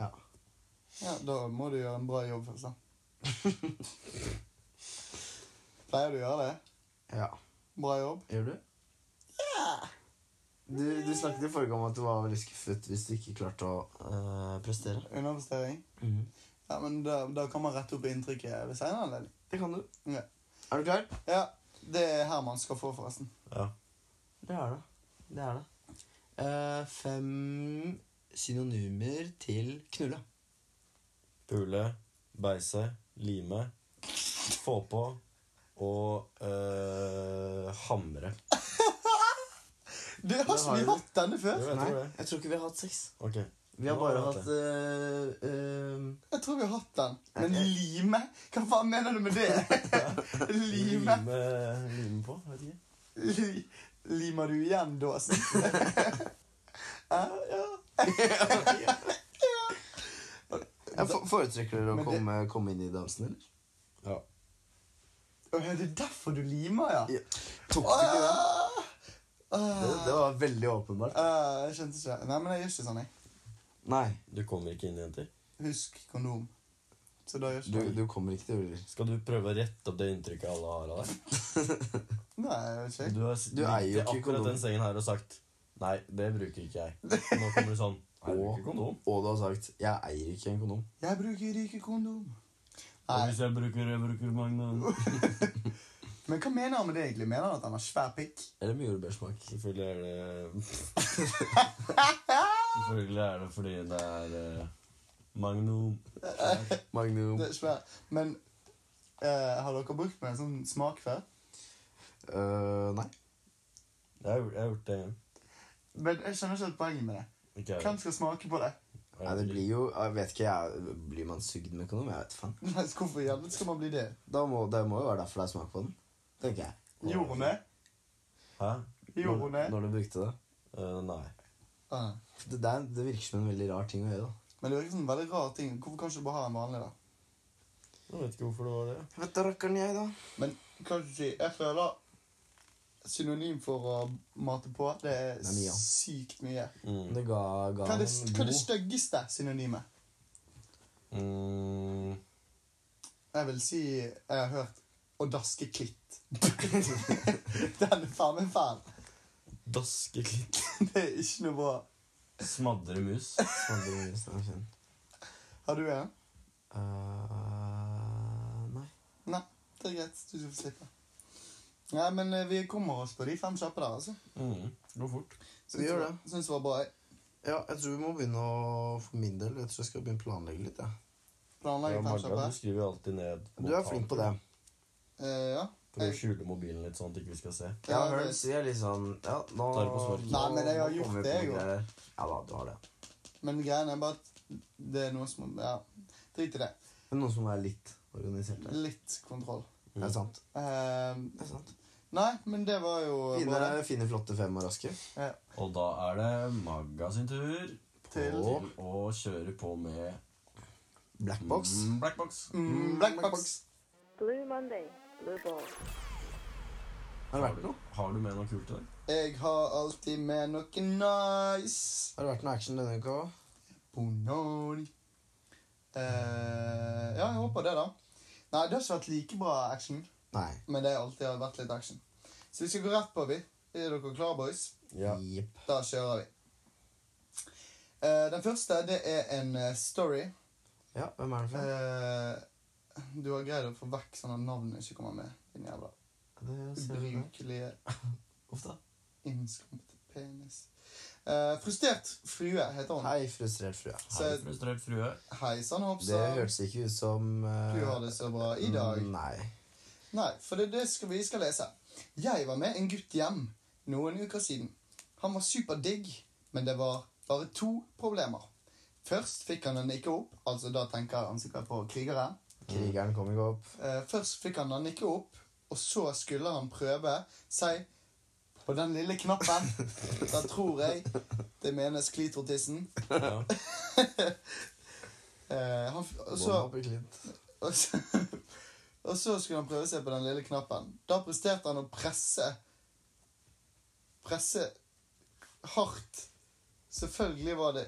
[SPEAKER 3] ja.
[SPEAKER 2] Ja, Da må du gjøre en bra jobb først, da. Pleier du å gjøre det?
[SPEAKER 3] ja.
[SPEAKER 2] Bra jobb?
[SPEAKER 3] Gjør du? Du, du snakket i forrige gang om at du var veldig skuffet hvis du ikke klarte å eh, prestere.
[SPEAKER 2] Underprestering?
[SPEAKER 3] Mm.
[SPEAKER 2] Ja, men da, da kan man rette opp inntrykket ved senere anledning.
[SPEAKER 3] Det kan du.
[SPEAKER 2] Ja.
[SPEAKER 3] Er du klar?
[SPEAKER 2] Ja, det er Herman skal få, forresten.
[SPEAKER 4] Ja.
[SPEAKER 3] Det er det. Det er det. Eh, fem synonymer til knulle.
[SPEAKER 4] Pule, beise, lime, få på og eh, hamre.
[SPEAKER 2] Det har ikke
[SPEAKER 3] har
[SPEAKER 2] vi
[SPEAKER 3] du.
[SPEAKER 2] hatt denne før.
[SPEAKER 4] Jo, jeg
[SPEAKER 3] Nei,
[SPEAKER 4] tror det.
[SPEAKER 3] jeg tror ikke vi har hatt sex.
[SPEAKER 4] Ok.
[SPEAKER 3] Vi har
[SPEAKER 4] Nå
[SPEAKER 3] bare
[SPEAKER 4] jeg
[SPEAKER 3] hatt eh, eh,
[SPEAKER 2] Jeg tror vi har hatt den. Men lime? Hva faen mener du med det?
[SPEAKER 4] lime,
[SPEAKER 2] Lime?
[SPEAKER 4] lime på. Vet ikke.
[SPEAKER 2] Li, limer du igjen dåsen? ja, ja.
[SPEAKER 3] jeg fo- Foretrekker dere å
[SPEAKER 2] Men det-
[SPEAKER 3] komme, komme inn i dansen, eller?
[SPEAKER 4] Ja.
[SPEAKER 2] Å, ja, det er derfor du limer, ja?
[SPEAKER 3] Ja. Tok du ikke den?
[SPEAKER 2] Ah!
[SPEAKER 3] Det,
[SPEAKER 2] Ah,
[SPEAKER 3] det var veldig åpenbart.
[SPEAKER 2] ah, jeg skjønte ikke. Nei, men jeg gjør ikke sånn, jeg.
[SPEAKER 3] Nei,
[SPEAKER 4] Du kommer ikke inn, jenter.
[SPEAKER 2] Husk kondom. Så da gjør
[SPEAKER 3] du,
[SPEAKER 2] ikke
[SPEAKER 3] du kommer ikke til å bli
[SPEAKER 4] Skal du prøve å rette opp det inntrykket alle har av deg?
[SPEAKER 2] Nei, jeg vet ikke.
[SPEAKER 4] Du har
[SPEAKER 3] Du
[SPEAKER 4] ligget
[SPEAKER 3] eier jo
[SPEAKER 4] i
[SPEAKER 3] ikke
[SPEAKER 4] akkurat
[SPEAKER 3] kondom.
[SPEAKER 4] den sengen her og sagt Nei, det bruker ikke jeg. Nå kommer det sånn. Jeg bruker kondom.
[SPEAKER 3] Og du har sagt 'jeg eier ikke en kondom'.
[SPEAKER 2] Jeg bruker ikke kondom.
[SPEAKER 4] Og
[SPEAKER 2] Nei,
[SPEAKER 4] hvis jeg bruker, jeg bruker magnum
[SPEAKER 2] Men hva mener han med det egentlig? Mener han at han har svær pikk?
[SPEAKER 3] Eller med jordbærsmak.
[SPEAKER 4] Selvfølgelig er det Selvfølgelig er det fordi det er eh, Magnum.
[SPEAKER 3] Magnum.
[SPEAKER 2] Det er svær. Men eh, har dere brukt med en sånn smak før?
[SPEAKER 3] Øh, nei.
[SPEAKER 4] Jeg har, gjort- jeg har gjort det en gang.
[SPEAKER 2] Men jeg skjønner ikke helt poenget med det.
[SPEAKER 4] Ikke jeg.
[SPEAKER 2] Hvem skal smake på det?
[SPEAKER 4] Jeg
[SPEAKER 3] nei.
[SPEAKER 4] har
[SPEAKER 3] Det
[SPEAKER 4] gjort
[SPEAKER 3] blir jo Jeg vet ikke, jeg Blir man sugd med kondom? Jeg vet faen.
[SPEAKER 2] Nei, så Hvorfor i helvete skal man bli det?
[SPEAKER 3] Da må, det må jo være derfor det er smak på den. Tenker jeg.
[SPEAKER 2] Gjorde hun det?
[SPEAKER 4] Hæ?
[SPEAKER 2] Gjorde hun det?
[SPEAKER 3] Når, når du brukte det.
[SPEAKER 4] Eh, nei.
[SPEAKER 2] Ah.
[SPEAKER 3] Det, der, det virker som en veldig rar ting å gjøre, da.
[SPEAKER 2] Men det virker som en veldig rar ting. Hvorfor kan ikke du bare ha en vanlig, da?
[SPEAKER 4] Jeg vet ikke hvorfor det var det.
[SPEAKER 3] Vet da rakkeren jeg, da.
[SPEAKER 2] Men kan du ikke si Jeg føler synonym for å mate på, det er
[SPEAKER 3] Det er mye, ja.
[SPEAKER 2] sykt mye.
[SPEAKER 4] Mm.
[SPEAKER 3] Det ga, ga
[SPEAKER 2] Hva er det,
[SPEAKER 3] en
[SPEAKER 2] hva er det
[SPEAKER 3] god-
[SPEAKER 2] styggeste synonymet?
[SPEAKER 4] Mm.
[SPEAKER 2] Jeg vil si Jeg har hørt 'å daske klitt'. Den er faen meg fæl.
[SPEAKER 4] Daske litt.
[SPEAKER 2] Det er ikke noe bra.
[SPEAKER 4] Smadre mus.
[SPEAKER 3] Smadre mye, stemmer fin.
[SPEAKER 2] Har du en?
[SPEAKER 3] Eh, nei.
[SPEAKER 2] Nei, det er greit. Du skal få slippe. Nei, men eh, vi kommer oss på de fem kjappe der, altså.
[SPEAKER 4] Mm. Gå fort.
[SPEAKER 3] Vi gjør det.
[SPEAKER 2] Syns det var bra.
[SPEAKER 3] Ja, jeg tror vi må begynne å For min del, jeg tror jeg skal begynne å planlegge litt. jeg.
[SPEAKER 4] Ja,
[SPEAKER 2] Planlegge fem
[SPEAKER 4] Magda,
[SPEAKER 2] kjappe.
[SPEAKER 4] du skriver jo alltid ned
[SPEAKER 3] Du er flink på det.
[SPEAKER 2] Eh, ja.
[SPEAKER 4] Prøv å skjule mobilen litt, sånn at ikke vi skal se.
[SPEAKER 3] Jeg har
[SPEAKER 2] Ja,
[SPEAKER 3] hørt
[SPEAKER 2] det-
[SPEAKER 3] si litt sånn ja, nå,
[SPEAKER 4] Tar det på sparket.
[SPEAKER 2] Nei, men jeg har
[SPEAKER 3] nå
[SPEAKER 2] gjort
[SPEAKER 3] kommer vi
[SPEAKER 2] det,
[SPEAKER 3] på
[SPEAKER 2] jeg
[SPEAKER 3] noe
[SPEAKER 2] også.
[SPEAKER 3] greier. Ja da, du har det.
[SPEAKER 2] Men greien er bare at det er noe som Ja, drit i det.
[SPEAKER 3] Men noen som er litt organisert der.
[SPEAKER 2] Litt kontroll.
[SPEAKER 3] Det er sant.
[SPEAKER 2] Eh,
[SPEAKER 3] Det er sant.
[SPEAKER 2] nei, men det var jo
[SPEAKER 3] Fine,
[SPEAKER 2] bra. det.
[SPEAKER 3] fine flotte fem og raske.
[SPEAKER 2] Ja.
[SPEAKER 4] Og da er det Magga sin tur
[SPEAKER 2] Til
[SPEAKER 4] til å kjøre på med
[SPEAKER 3] Blackbox.
[SPEAKER 4] mm, Blackbox.
[SPEAKER 2] mm, Blackbox.
[SPEAKER 1] Blue Monday, blue ball.
[SPEAKER 3] Har det vært noe?
[SPEAKER 4] Har du med noe kult i dag?
[SPEAKER 2] Jeg har alltid med noe nice.
[SPEAKER 3] Har det vært noe action denne uka òg?
[SPEAKER 2] Bononi. Eh, ja, jeg håper det, da. Nei, det har ikke vært like bra action,
[SPEAKER 3] Nei.
[SPEAKER 2] men det har alltid vært litt action. Så vi skal gå rett på, vi. Er dere klare, boys?
[SPEAKER 3] Jepp.
[SPEAKER 2] Da kjører vi. Eh, den første, det er en eh, story.
[SPEAKER 3] Ja, hvem er det for?
[SPEAKER 2] Eh, du har greid å få vekk sånn at navnet ikke kommer med. Din jævla Eh,
[SPEAKER 3] Det ser vi der.
[SPEAKER 2] ubrukelige,
[SPEAKER 3] Uff da.
[SPEAKER 2] innskrumpete penis. Eh, frustrert frue heter hun.
[SPEAKER 3] Hei, frustrert frue.
[SPEAKER 4] Her er frustrert frue.
[SPEAKER 2] Hei sann,
[SPEAKER 3] Det
[SPEAKER 2] Hopsa.
[SPEAKER 3] hørtes ikke ut som eh,
[SPEAKER 2] Du har det så bra i dag.
[SPEAKER 3] mm, Nei.
[SPEAKER 2] Nei, for det er det skal vi skal lese. Jeg var med en gutt hjem noen uker siden. Han var superdigg, men det var bare to problemer. Først fikk han henne ikke opp, altså da tenker han sikkert på krigeren.
[SPEAKER 3] Krigeren kom ikke opp.
[SPEAKER 2] Eh, først fikk han henne ikke opp, og så skulle han prøve seg på den lille knappen. Da tror jeg det menes klitortissen.
[SPEAKER 4] Ja.
[SPEAKER 2] Eh, han, f- og så
[SPEAKER 3] Bånda opp i klint.
[SPEAKER 2] Og så, og så skulle han prøve seg på den lille knappen. Da presterte han å presse Presse hardt. Selvfølgelig var det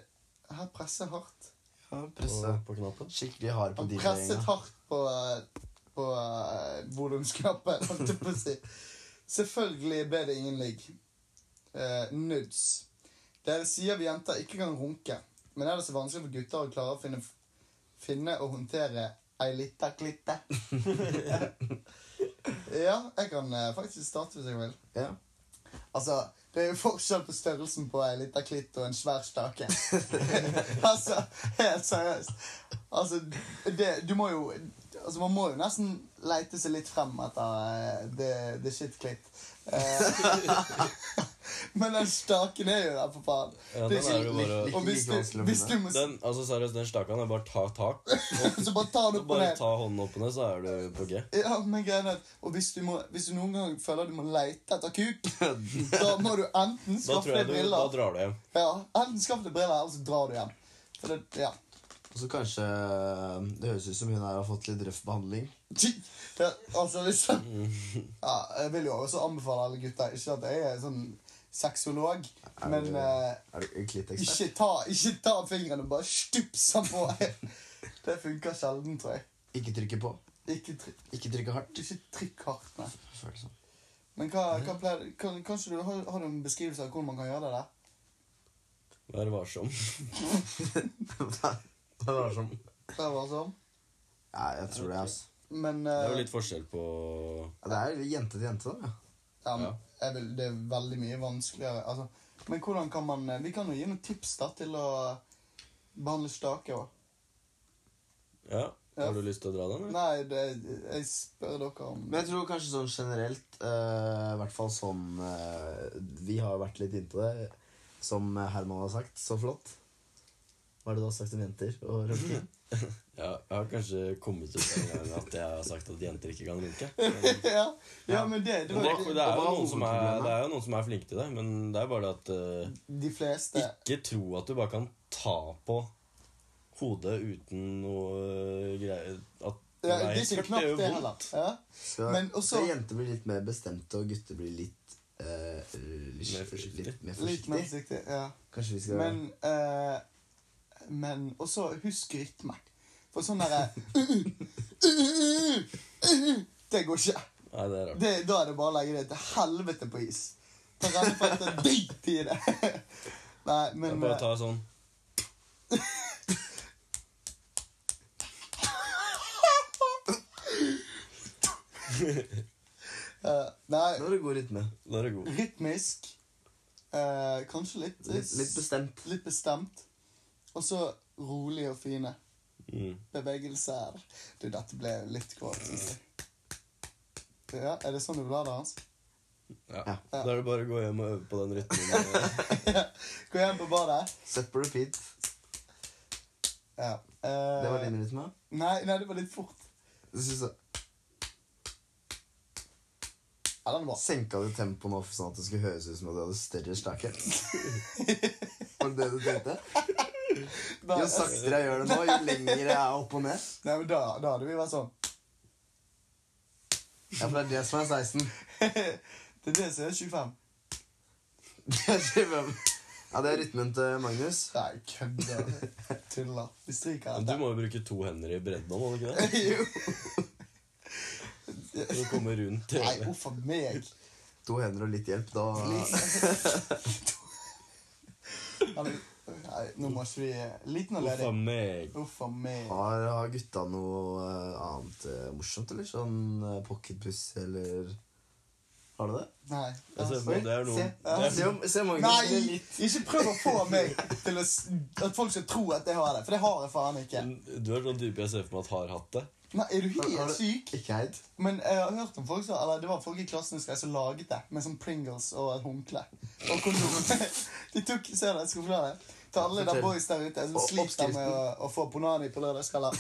[SPEAKER 2] Her presse hardt.
[SPEAKER 3] Ja,
[SPEAKER 4] På,
[SPEAKER 3] presse.
[SPEAKER 4] på knappen.
[SPEAKER 3] Skikkelig hard på
[SPEAKER 2] Han presset
[SPEAKER 3] DJ-gjenga.
[SPEAKER 2] hardt på, eh, på eh, volumsknappen, holdt jeg på å si. Selvfølgelig ble det ingen ligg. Eh, nudes. Dere sier vi jenter ikke kan runke, men er det så vanskelig for gutter å klare å finne, finne og håndtere ei lita klitte? ja, jeg kan eh, faktisk starte hvis jeg vil.
[SPEAKER 3] Ja.
[SPEAKER 2] Altså, det er jo forskjell på størrelsen på ei lita klitt og en svær stake. altså, helt seriøst. Altså, det, du må jo Altså, man må jo nesten leite seg litt frem etter eh, the, the shit klitt. Eh, men den staken er jo der, for faen.
[SPEAKER 4] Ja,
[SPEAKER 2] Det er
[SPEAKER 4] den er
[SPEAKER 2] ikke-
[SPEAKER 4] jo bare
[SPEAKER 2] Og hvis
[SPEAKER 3] Ikke vanskelig
[SPEAKER 2] du,
[SPEAKER 3] å
[SPEAKER 2] hvis du må
[SPEAKER 4] den, altså Seriøst, den stakan er bare ta tak. Og
[SPEAKER 2] Så bare ta
[SPEAKER 4] så
[SPEAKER 2] den opp og
[SPEAKER 4] bare
[SPEAKER 2] ned.
[SPEAKER 4] ta hånden opp på ned, så er du på G.
[SPEAKER 2] Ja, men greien er at Og hvis du, må, hvis du noen gang føler du må leite etter kuk, da må du enten
[SPEAKER 4] Da
[SPEAKER 2] skaffe
[SPEAKER 4] tror jeg
[SPEAKER 2] deg
[SPEAKER 4] du, da
[SPEAKER 2] briller
[SPEAKER 4] drar du hjem.
[SPEAKER 2] Ja, enten skaffe deg briller, eller så drar du hjem. For det, ja
[SPEAKER 3] Og så kanskje eh, Det høres ut som hun her har fått litt røff behandling.
[SPEAKER 2] Ja, altså liksom ja, Jeg vil jo også anbefale alle gutter Ikke at jeg er sånn seksolog
[SPEAKER 3] Er
[SPEAKER 2] Men
[SPEAKER 3] du-
[SPEAKER 2] eh,
[SPEAKER 3] Er du klittekspert?
[SPEAKER 2] ikke, ta, ikke ta fingeren og bare stups den på Det funker sjelden, tror jeg
[SPEAKER 3] Ikke trykke på.
[SPEAKER 2] Ikke, try-
[SPEAKER 3] Ikke trykke hardt.
[SPEAKER 2] ikke trykk hardt, nei
[SPEAKER 3] Føles sånn.
[SPEAKER 2] Men hva, hva pleier kan, Kanskje du har, har du en beskrivelse av hvordan man kan gjøre det der?
[SPEAKER 4] Vær varsom.
[SPEAKER 3] Det var som
[SPEAKER 2] Prøv altså
[SPEAKER 3] Ja, jeg tror det, altså.
[SPEAKER 2] Men,
[SPEAKER 4] Det
[SPEAKER 2] eh,
[SPEAKER 4] er jo litt forskjell på
[SPEAKER 3] Ja, Det er jo jente til jente, da. Ja.
[SPEAKER 2] ja, men
[SPEAKER 4] ja.
[SPEAKER 2] jeg vil, det er veldig mye vanskeligere altså, Men hvordan kan man eh, Vi kan jo gi noen tips da til å Behandle stake også
[SPEAKER 4] Ja.
[SPEAKER 2] Ja.
[SPEAKER 4] Har du lyst til å dra den? eller?
[SPEAKER 2] Nei, det, jeg spør dere om
[SPEAKER 3] Men jeg tror kanskje sånn generelt, eh, i hvert fall sånn eh, Vi har vært litt innpå det, som Herman har sagt. Så flott. Hva er det du har sagt om jenter og rømke?
[SPEAKER 4] Ja, jeg har kanskje kommet ut en gang at jeg har sagt at jenter ikke kan runke.
[SPEAKER 2] ja, ja, men det, det
[SPEAKER 4] Men det,
[SPEAKER 2] var jo
[SPEAKER 4] det, er jo
[SPEAKER 3] hva er
[SPEAKER 4] noen som er,
[SPEAKER 3] hovedproblemet?
[SPEAKER 4] det er jo noen som er flinke til det, men det er bare det at eh,
[SPEAKER 2] de fleste
[SPEAKER 4] Ikke tro at du bare kan ta på hodet uten noe eh, greier at
[SPEAKER 2] ja,
[SPEAKER 4] Nei,
[SPEAKER 2] Det er ikke
[SPEAKER 4] klart
[SPEAKER 2] knapt
[SPEAKER 4] gjør
[SPEAKER 2] det
[SPEAKER 4] vondt.
[SPEAKER 2] heller. Ja.
[SPEAKER 3] Så
[SPEAKER 2] Men også-
[SPEAKER 3] så jenter blir litt mer bestemte, og gutter blir litt eh, litt,
[SPEAKER 4] Mer forsiktig.
[SPEAKER 3] Litt mer
[SPEAKER 2] Litt mer
[SPEAKER 3] forsiktig.
[SPEAKER 2] forsiktig. Ja.
[SPEAKER 3] Kanskje vi skal
[SPEAKER 2] Men, eh, men også husk rytme. For sånn derre Det går ikke.
[SPEAKER 4] Nei, det er rart.
[SPEAKER 2] Det, da er det bare å legge det til helvete på is. Ta renne for at det drit i det. Nei,
[SPEAKER 4] Jeg
[SPEAKER 2] men
[SPEAKER 4] bare ta sånn
[SPEAKER 2] eh, Nei,
[SPEAKER 3] Nå er det god rytme.
[SPEAKER 4] Da er det god.
[SPEAKER 2] rytmisk. eh, kanskje litt
[SPEAKER 3] Litt, litt bestemt.
[SPEAKER 2] litt bestemt. Og så rolig og fine
[SPEAKER 4] Mm.
[SPEAKER 2] bevegelser. Du, dette ble litt kroatisk. Ja, er det sånn du vil ha det, Hans?
[SPEAKER 4] Ja.
[SPEAKER 3] Ja.
[SPEAKER 4] Da er det bare å gå hjem og øve på den rytmen.
[SPEAKER 2] Gå hjem på badet.
[SPEAKER 3] Set på repeat.
[SPEAKER 2] Ja. eh,
[SPEAKER 3] Det var din rytme.
[SPEAKER 2] Nei, nei, det var litt fort.
[SPEAKER 3] Du synes jeg
[SPEAKER 2] Ja, den er bra.
[SPEAKER 3] Senka du tempoet nå for sånn at det skulle høres ut som at du hadde større stake? Var det det du tenkte?
[SPEAKER 2] Da,
[SPEAKER 3] Jo saktere jeg gjør det nå, jo lenger jeg er opp og ned.
[SPEAKER 2] nei, men da, da hadde vi vært sånn.
[SPEAKER 3] Ja, for det er det som er 16.
[SPEAKER 2] det er det som er 25.
[SPEAKER 3] Det er 25. Ja, det er rytmen til Magnus.
[SPEAKER 2] Nei, kødder. Tuller. Vi stryker
[SPEAKER 4] Men
[SPEAKER 2] den.
[SPEAKER 4] Du må jo bruke to hender i bredden, må du ikke det?
[SPEAKER 2] Jo.
[SPEAKER 4] For å komme rundt
[SPEAKER 2] Nei,
[SPEAKER 4] TV.
[SPEAKER 2] uff a meg.
[SPEAKER 3] To hender og litt hjelp, da
[SPEAKER 2] Ja, men- Nei, nå må ikke vi Liten og
[SPEAKER 4] Uff a
[SPEAKER 2] ledig.
[SPEAKER 4] Ah. meg. Ah.
[SPEAKER 2] Uff a meg.
[SPEAKER 3] har, har gutta noe eh, annet eh, morsomt, eller? Sånn eh, pocketpuss, eller Har du det?
[SPEAKER 2] Nei.
[SPEAKER 4] Jeg ser på- Det er
[SPEAKER 3] Se,
[SPEAKER 4] noen
[SPEAKER 2] Ja.
[SPEAKER 3] se, om, se Magnus blir
[SPEAKER 2] Nei!
[SPEAKER 3] litt
[SPEAKER 2] Ikke prøv å få meg til å, s- at folk skal tro at jeg har det, for det har jeg faen ikke.
[SPEAKER 4] Du er sånn type jeg ser for meg at har hatt det.
[SPEAKER 2] Nei, Er du
[SPEAKER 3] Har
[SPEAKER 2] helt
[SPEAKER 3] du-
[SPEAKER 2] syk?
[SPEAKER 3] Ikke heid.
[SPEAKER 2] Men jeg har hørt om folk som Eller det var folk i klassen husker jeg, som laget det med sånn Pringles og et håndkle. Og kondom. De tok Ser dere, jeg skal forklare det. Til alle de
[SPEAKER 3] Fortell.
[SPEAKER 2] boys der ute som
[SPEAKER 3] Og
[SPEAKER 2] sliter med
[SPEAKER 3] oppskriften.
[SPEAKER 2] å, å få ponani på lørdagskvelder,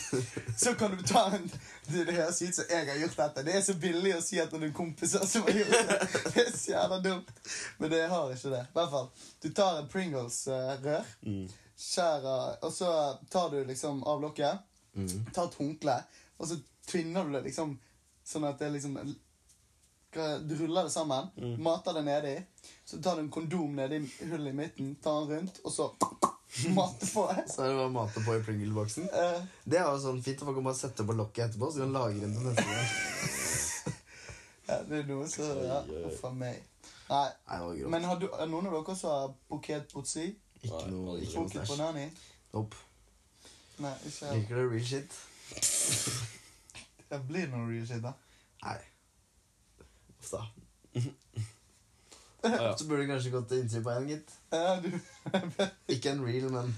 [SPEAKER 2] så kan du ta en Det det høres ut som jeg har gjort dette. Det er så billig å si at det er kompiser som har gjort det. Det er så jævla dumt. Men det har ikke det. I hvert fall. Du tar en Pringles-rør,
[SPEAKER 3] Mm.
[SPEAKER 2] skjærer, og så tar du liksom av lokket
[SPEAKER 3] Mm.
[SPEAKER 2] ta et håndkle, og så tvinner du det liksom sånn at det liksom hva- Du ruller det sammen,
[SPEAKER 3] Mm.
[SPEAKER 2] mater det nedi, så tar du en kondom nedi hullet i midten, tar den rundt, og så mater på.
[SPEAKER 3] Så er det bare å mate på i Pringle-boksen.
[SPEAKER 2] Eh,
[SPEAKER 3] Det er jo sånn fint at man kan bare sette på lokket etterpå, så kan man lagre den til neste gang.
[SPEAKER 2] ja, det er noe som ja,
[SPEAKER 4] Oi, oi, oi.
[SPEAKER 2] Huff a meg. Nei.
[SPEAKER 3] Nei, det var grovt.
[SPEAKER 2] Men har du, er noen av dere som har poket potsi?
[SPEAKER 3] Ikke
[SPEAKER 4] Nei,
[SPEAKER 3] noe,
[SPEAKER 4] aldri.
[SPEAKER 3] ikke noe
[SPEAKER 2] Poket
[SPEAKER 3] stæsj.
[SPEAKER 2] banani?
[SPEAKER 3] Nope.
[SPEAKER 2] Nei, ikke
[SPEAKER 3] Liker du real shit?
[SPEAKER 2] Det blir noe real shit, da.
[SPEAKER 3] Nei. Uff da.
[SPEAKER 4] Ah, ja.
[SPEAKER 3] Så burde du kanskje gått til innsyn på én, gitt.
[SPEAKER 2] Ja, Eh, du
[SPEAKER 3] Ikke en real, men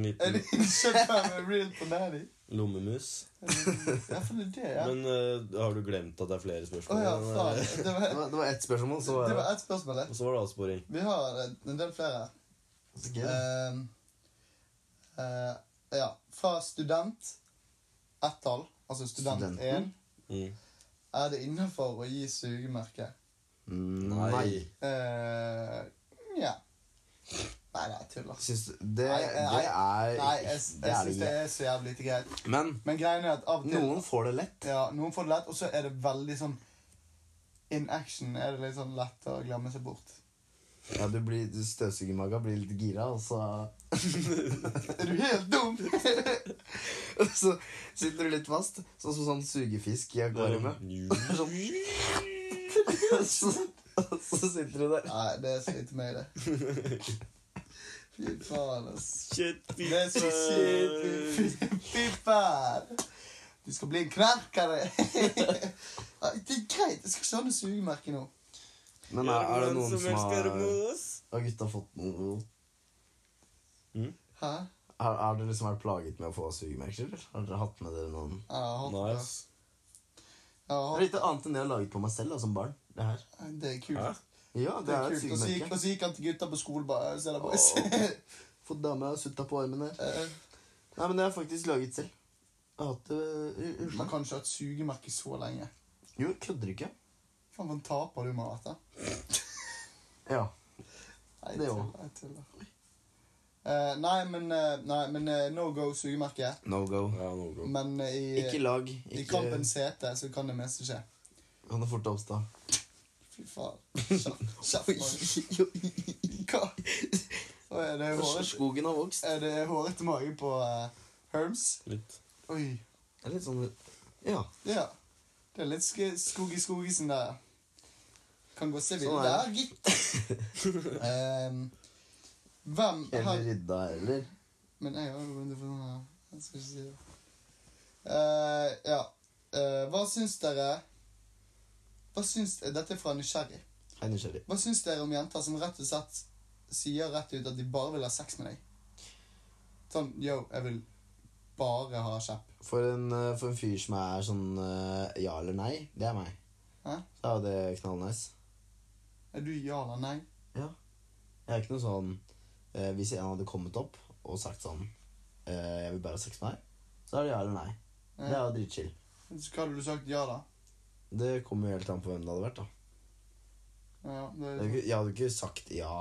[SPEAKER 4] En
[SPEAKER 2] Er
[SPEAKER 4] liten
[SPEAKER 2] det innkjøpt med real banani?
[SPEAKER 4] lommemus.
[SPEAKER 2] Ja, for det er det, ja. Å
[SPEAKER 4] Men eh, har du glemt at det er flere spørsmål?
[SPEAKER 2] ja,
[SPEAKER 4] Men,
[SPEAKER 2] faen.
[SPEAKER 4] eh,
[SPEAKER 2] Det
[SPEAKER 3] Det
[SPEAKER 2] var,
[SPEAKER 3] var, det var ett spørsmål, så var
[SPEAKER 2] det
[SPEAKER 3] det
[SPEAKER 2] var ett spørsmål, det.
[SPEAKER 4] Og så var det avsporing.
[SPEAKER 2] Vi har eh, en del flere.
[SPEAKER 3] Så gøy.
[SPEAKER 2] Ehm, eh, ja. Fra student ett-tall, altså student
[SPEAKER 3] Studenten?
[SPEAKER 2] 1,
[SPEAKER 4] Mm.
[SPEAKER 2] er det innafor å gi sugemerke?
[SPEAKER 3] Mm,
[SPEAKER 4] Nei.
[SPEAKER 3] Nei.
[SPEAKER 2] Uh, ja. Nei, det er tull, ass.
[SPEAKER 3] Syns du Det, det
[SPEAKER 2] Nei,
[SPEAKER 3] er
[SPEAKER 2] eh, nei. Nei, jeg, jeg,
[SPEAKER 3] Det er det
[SPEAKER 2] syns
[SPEAKER 3] ikke.
[SPEAKER 2] det er så jævlig lite greit.
[SPEAKER 3] Men
[SPEAKER 2] Men greien er at av og til
[SPEAKER 3] noen får det lett.
[SPEAKER 2] ja, noen får det lett, og så er det veldig sånn In action er det litt sånn lett å glemme seg bort.
[SPEAKER 3] Ja, du blir du støvsuger maga, blir litt gira, og så
[SPEAKER 2] Er du helt dum?
[SPEAKER 3] Og så sitter du litt fast, sånn som sånn sugefisk i akvariet.
[SPEAKER 4] Mm.
[SPEAKER 3] Sånn. Og så, og så sitter du der.
[SPEAKER 2] Nei, det er så lite meg, det. Fy faen, ass.
[SPEAKER 4] Shit, fy
[SPEAKER 2] Det er så
[SPEAKER 4] faen.
[SPEAKER 2] sykt. Fy faen. Du skal bli en knerkere. Nei, Det er greit. Jeg skal ikke ha noe sugemerke nå.
[SPEAKER 3] Men er, er det noen som har
[SPEAKER 4] oss?
[SPEAKER 3] Har gutta fått noe
[SPEAKER 2] Hæ?
[SPEAKER 3] Har, har dere liksom vært plaget med å få sugemerker? eller? Har dere hatt med dere noen
[SPEAKER 2] Jeg har hatt det.
[SPEAKER 4] Nice.
[SPEAKER 2] Jeg
[SPEAKER 3] Det
[SPEAKER 2] har
[SPEAKER 3] er
[SPEAKER 2] hatt-
[SPEAKER 3] litt annet enn det jeg har laget på meg selv da, som barn. Det her.
[SPEAKER 2] Det er
[SPEAKER 4] Hæ?
[SPEAKER 2] kult.
[SPEAKER 3] Ja, det,
[SPEAKER 2] Det er
[SPEAKER 3] er et
[SPEAKER 2] kult. Og så gikk-
[SPEAKER 3] sugemerke.
[SPEAKER 2] Og så gikk han til gutta på skolen bare Se deg, boys.
[SPEAKER 3] Fått dame og sutta på armen her.
[SPEAKER 2] Eh,
[SPEAKER 3] Nei, men det har jeg faktisk laget selv. Jeg har hatt eh, det i- i-
[SPEAKER 2] Man kan ikke ha et sugemerke så lenge.
[SPEAKER 3] Jo, jeg kødder ikke.
[SPEAKER 2] Faen, for en taper du må ha vært, da.
[SPEAKER 3] Ja.
[SPEAKER 2] Nei,
[SPEAKER 3] Det
[SPEAKER 2] jeg
[SPEAKER 3] også.
[SPEAKER 2] tuller, jeg tuller. Eh, Nei, men, eh, nei, men eh, no go sugemerke.
[SPEAKER 3] No go.
[SPEAKER 4] Ja, noe bra.
[SPEAKER 2] Men eh, i,
[SPEAKER 3] Ikke lag.
[SPEAKER 2] i
[SPEAKER 3] Ikke
[SPEAKER 2] kampens hete så kan det meste skje.
[SPEAKER 3] Kan det fort oppstå.
[SPEAKER 2] Fy faen. Kjapt. Kjapt. Mari. Hva? Oi, er det hårete,
[SPEAKER 3] Skogen har vokst.
[SPEAKER 2] er det hårete mage på eh, Herms?
[SPEAKER 4] Litt.
[SPEAKER 2] Oi.
[SPEAKER 3] Det er litt sånn Ja.
[SPEAKER 2] Ja. Det er litt sk skog i skogisen der. Kan gå se
[SPEAKER 3] Sånn
[SPEAKER 2] videre
[SPEAKER 3] er
[SPEAKER 2] der, gitt. Ehm, hvem
[SPEAKER 3] Eller
[SPEAKER 2] har
[SPEAKER 3] rydda, eller
[SPEAKER 2] Men jeg har jo rundt for sånn her. Jeg skal ikke si det. Eh, ja. Eh, hva syns dere Hva syns, Dette er fra nysgjerrig.
[SPEAKER 3] Jeg er nysgjerrig.
[SPEAKER 2] Hva syns dere om jenter som rett og slett sier rett ut at de bare vil ha sex med deg? Sånn Yo, jeg vil bare ha kjepp.
[SPEAKER 3] For en, eh, for en fyr som er sånn eh, ja eller nei, det er meg.
[SPEAKER 2] Hæ?
[SPEAKER 3] Så er jo det knallnice.
[SPEAKER 2] Er du ja eller nei?
[SPEAKER 3] Jeg er ikke noe sånn eh, Hvis en hadde kommet opp og sagt sånn eh, Jeg vil bare ha sex med deg, så er det ja eller nei. Det er
[SPEAKER 2] Ja.
[SPEAKER 3] jo dritchill.
[SPEAKER 2] Så hva hadde du sagt ja, da?
[SPEAKER 3] Det kommer jo helt an på hvem det hadde vært, da.
[SPEAKER 2] Ja, det,
[SPEAKER 3] Jeg hadde ikke, jeg hadde ikke sagt ja.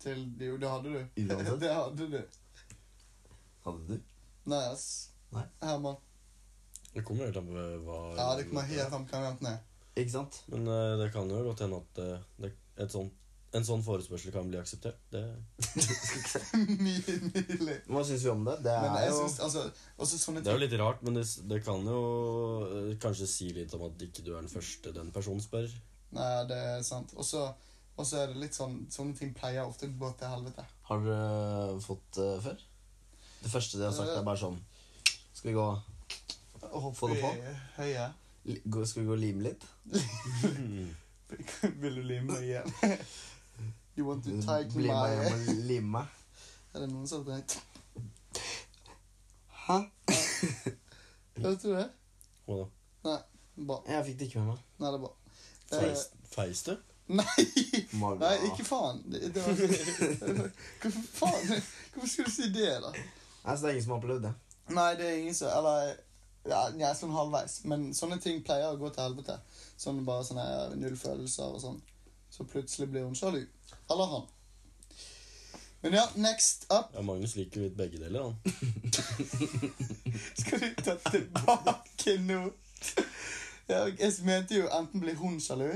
[SPEAKER 2] til, jo, det hadde du.
[SPEAKER 3] Uansett.
[SPEAKER 2] det hadde du.
[SPEAKER 3] Hadde du?
[SPEAKER 2] Nei, ass.
[SPEAKER 3] Nei.
[SPEAKER 2] Herman.
[SPEAKER 5] Det kommer helt an på hva
[SPEAKER 2] Ja, det kommer helt an på hvem jenten er.
[SPEAKER 3] Ikke sant?
[SPEAKER 5] Men eh, det kan jo godt hende at eh, det, et sånt, en sånn forespørsel kan bli akseptert. Det,
[SPEAKER 2] Mye nydelig.
[SPEAKER 3] Hva syns vi om det? Det
[SPEAKER 2] Men
[SPEAKER 3] er
[SPEAKER 2] jeg
[SPEAKER 3] jo
[SPEAKER 2] syns altså, også sånne
[SPEAKER 5] det er jo litt rart, men det, s- det kan jo eh, kanskje si litt om at ikke du er den første den personen spør.
[SPEAKER 2] Nei, det er sant. Og så og så er det litt sånn Sånne ting pleier ofte å gå til helvete.
[SPEAKER 3] Har dere fått det før? Det første dere har sagt, er bare sånn Skal vi gå, Få det på.
[SPEAKER 2] Høye.
[SPEAKER 3] li- gå, skal vi gå og lime litt?
[SPEAKER 2] Vil du lime meg igjen? You want to tighten
[SPEAKER 3] Bli med
[SPEAKER 2] my
[SPEAKER 3] hjem og lime meg?
[SPEAKER 2] Er det noen som har tenkt
[SPEAKER 3] Hæ?
[SPEAKER 2] Vet du det?
[SPEAKER 5] Hva da?
[SPEAKER 2] Bra.
[SPEAKER 3] Jeg fikk det ikke med meg.
[SPEAKER 2] Nei, det er bra. Eh,
[SPEAKER 5] Feis, feis du?
[SPEAKER 2] nei,
[SPEAKER 3] Maga.
[SPEAKER 2] nei, ikke faen. Det, det var, hvorfor faen? Hvorfor skulle du si det, da?
[SPEAKER 3] Nei, så det er ingen som har opplevd det.
[SPEAKER 2] Nei, det er ingen som Eller ja, jeg er sånn halvveis. Men sånne ting pleier å gå til helvete. Sånn bare sånne nullfølelser og sånn. Så plutselig blir hun sjalu. Eller han. Men ja, next up
[SPEAKER 5] Ja, Magnus liker litt begge deler, han.
[SPEAKER 2] skal du ta tilbake nå. Ja, Jeg mente jo enten blir hun sjalu,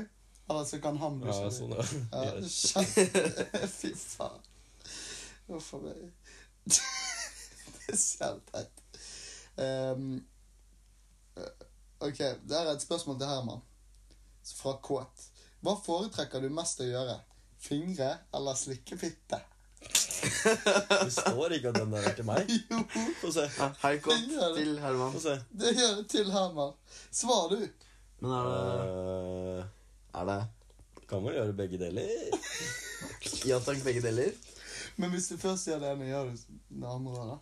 [SPEAKER 2] eller så kan han bli
[SPEAKER 5] Ja,
[SPEAKER 2] sjalu.
[SPEAKER 5] sånn, ja.
[SPEAKER 2] Ja,
[SPEAKER 5] Yes.
[SPEAKER 2] kjempe- Fy faen. Huff a meg. Det er så helt teit. Ehm, eh, OK, det her er et spørsmål til Herman. Fra Kåt. Hva foretrekker du mest å gjøre? Fingre eller slikke fitte?
[SPEAKER 5] Det står ikke at den der er til meg.
[SPEAKER 2] Jo,
[SPEAKER 5] Få se.
[SPEAKER 3] Hei, kom til Herman.
[SPEAKER 5] Få se.
[SPEAKER 2] det gjør jeg til Herman. Svar, du.
[SPEAKER 3] Men er det,
[SPEAKER 5] Eh,
[SPEAKER 3] er det
[SPEAKER 5] kan vel gjøre begge deler.
[SPEAKER 3] ja takk, begge deler?
[SPEAKER 2] Men hvis du først gjør det ene, gjør du det andre òg, da?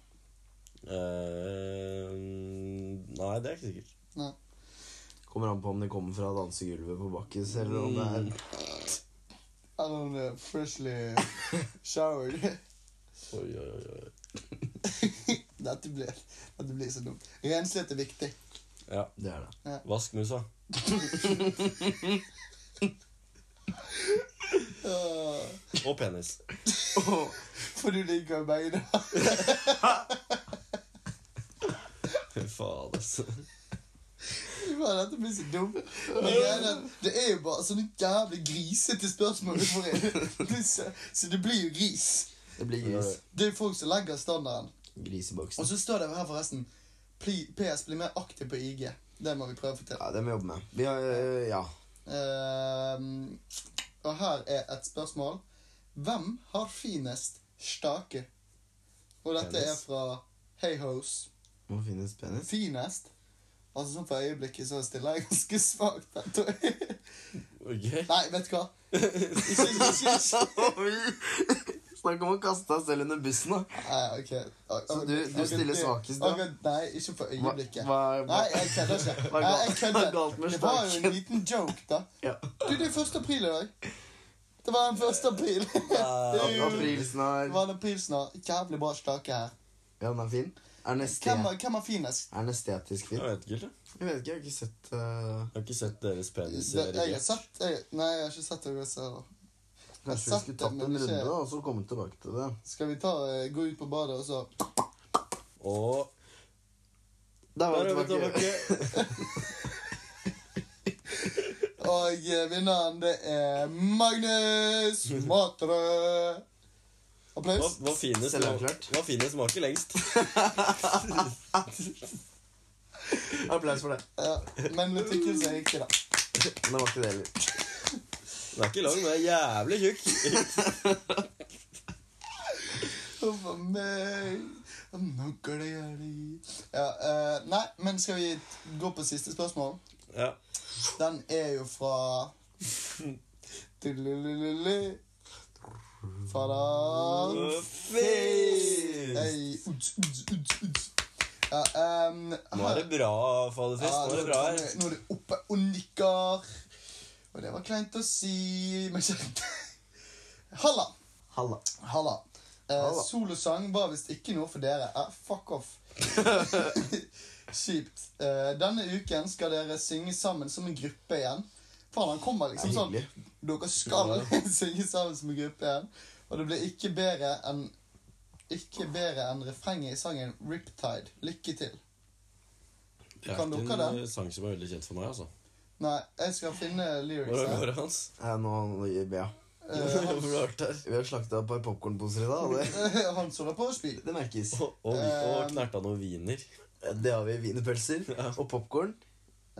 [SPEAKER 5] Eh, nei, det er ikke sikkert.
[SPEAKER 3] Kommer an på om de kommer fra dansegulvet på Bakkes, eller om det er
[SPEAKER 2] Eller om det er freshly showered?
[SPEAKER 5] Oi, oi, oi, oi.
[SPEAKER 2] Dette blir, dette blir så dumt. Renslighet er viktig.
[SPEAKER 5] Ja,
[SPEAKER 3] Det er det.
[SPEAKER 5] vask musa.
[SPEAKER 2] Åh,
[SPEAKER 5] Og penis.
[SPEAKER 2] For du liker jo begge deler.
[SPEAKER 5] Fy faen, altså.
[SPEAKER 2] Fy faen, Dette blir så dumt. Men greien er at Det er jo bare sånne jævlig grisete spørsmål du får inn. Det er Så så det blir jo gris.
[SPEAKER 3] Det blir gris.
[SPEAKER 2] Det er folk som legger standarden.
[SPEAKER 3] Gris i
[SPEAKER 2] Og
[SPEAKER 3] boksen.
[SPEAKER 2] så står det her forresten "Pli- PS blir mer aktiv på IG. Det må vi prøve å få til.
[SPEAKER 3] Ja, det må vi jobbe med. Vi har øh, Ja.
[SPEAKER 2] Ehm, og her er et spørsmål. Hvem har finest stake? Og dette er
[SPEAKER 5] Penis.
[SPEAKER 2] fra Heyhose.
[SPEAKER 3] Må finnes penis.
[SPEAKER 2] finest. Altså sånn For øyeblikket så stiller jeg ganske svakt. der, tror jeg.
[SPEAKER 5] Ok.
[SPEAKER 2] Nei, vet du hva? Ikke, ikke, ikke.
[SPEAKER 3] Snakk om å kaste deg selv under bussen, da.
[SPEAKER 2] Nei, ok. Ok,
[SPEAKER 3] Så du- du
[SPEAKER 2] ok,
[SPEAKER 3] stiller
[SPEAKER 2] det-
[SPEAKER 3] svakest, da?
[SPEAKER 2] ok, Nei, ikke for
[SPEAKER 3] Hva,
[SPEAKER 2] øyeblikket.
[SPEAKER 3] hva, hva?
[SPEAKER 2] Nei, jeg kødder ikke.
[SPEAKER 3] Hva er
[SPEAKER 2] Nei, jeg
[SPEAKER 3] galt- hva er galt
[SPEAKER 2] kødder.
[SPEAKER 3] med
[SPEAKER 2] Det var jo en
[SPEAKER 3] staken?
[SPEAKER 2] liten joke, da.
[SPEAKER 3] Ja.
[SPEAKER 2] Du, det er 1. april i dag. Det var en 1. april. Det
[SPEAKER 3] Aprilsnarr.
[SPEAKER 2] var en aprilsnarr. Jævlig bra stake her.
[SPEAKER 3] Ja, den er fin. Er den, estet,
[SPEAKER 2] Hvem,
[SPEAKER 3] er
[SPEAKER 2] er- hvem er finest?
[SPEAKER 3] den estetisk fin?
[SPEAKER 5] Jeg vet ikke helt, jeg.
[SPEAKER 3] Jeg vet ikke, jeg har ikke sett øh,
[SPEAKER 5] Jeg har ikke sett deres penis.
[SPEAKER 2] Det- Jeg har
[SPEAKER 5] erigert.
[SPEAKER 2] sett jeg, Nei, jeg har ikke sett det. jeg ser.
[SPEAKER 3] Kanskje vi
[SPEAKER 2] sett
[SPEAKER 3] skulle
[SPEAKER 2] det,
[SPEAKER 3] tatt
[SPEAKER 2] men
[SPEAKER 3] en
[SPEAKER 2] ikke-
[SPEAKER 3] runde da, og så komme tilbake til det.
[SPEAKER 2] Skal vi ta, eh, gå ut på badet og så
[SPEAKER 5] Og
[SPEAKER 3] Der
[SPEAKER 5] der er
[SPEAKER 3] var vi
[SPEAKER 5] vi
[SPEAKER 3] tilbake.
[SPEAKER 5] tilbake.
[SPEAKER 2] Å, Og eh, vinneren, det er Magnus Matre.
[SPEAKER 4] Hva,
[SPEAKER 2] Applaus.
[SPEAKER 4] hva finest
[SPEAKER 3] Selvavklart.
[SPEAKER 4] hva finest smaker lengst?
[SPEAKER 3] Applaus for det.
[SPEAKER 2] Ja, men vi tykker det er riktig, da.
[SPEAKER 3] Men det var ikke det heller.
[SPEAKER 4] Den er ikke lang, den er jævlig tjukk.
[SPEAKER 2] Huff a meg. Nå går det gærlig. Ja, eh, nei, men skal vi gå på siste spørsmål?
[SPEAKER 4] Ja.
[SPEAKER 2] Den er jo fra Tuddelululu. Fra
[SPEAKER 4] Face!
[SPEAKER 2] Hey, uts, uts, uts, uts. Ja, ehm,
[SPEAKER 4] Nå er det bra, Faderfest.
[SPEAKER 2] Ja,
[SPEAKER 4] Nå er det bra
[SPEAKER 2] nå
[SPEAKER 4] her.
[SPEAKER 2] er det- Nå er det oppe og nikker. Og det var kleint å si, men kjent. Halla.
[SPEAKER 3] Halla.
[SPEAKER 2] Halla. Eh,
[SPEAKER 3] Halla.
[SPEAKER 2] solosang var visst ikke noe for dere. Eh, fuck off. Kjipt. Eh, denne uken skal dere synge sammen som en gruppe igjen. Faen, han kommer liksom
[SPEAKER 3] Det er
[SPEAKER 2] sånn Dere skal synge sammen som en gruppe igjen. Og det blir ikke bedre enn Ikke bedre enn refrenget i sangen 'Riptide'. Lykke til.
[SPEAKER 4] Det er
[SPEAKER 2] Kan
[SPEAKER 4] ikke
[SPEAKER 2] dere
[SPEAKER 4] en eh, sang som er veldig kjent for meg, altså.
[SPEAKER 2] Nei, jeg skal finne
[SPEAKER 4] Hvordan
[SPEAKER 2] lyrics.
[SPEAKER 4] går
[SPEAKER 2] her.
[SPEAKER 4] det, Hans?
[SPEAKER 3] Eh, nå, nå ja.
[SPEAKER 2] Eh,
[SPEAKER 4] Hvor har du vært her?
[SPEAKER 3] Vi har slakta et par popkornposer i dag, og det,
[SPEAKER 2] han som holder på å spille.
[SPEAKER 3] det merkes. Eh,
[SPEAKER 4] Og, og, og
[SPEAKER 2] Eh,
[SPEAKER 4] knerta noen wiener.
[SPEAKER 3] Det har vi wienerpølser og popkorn.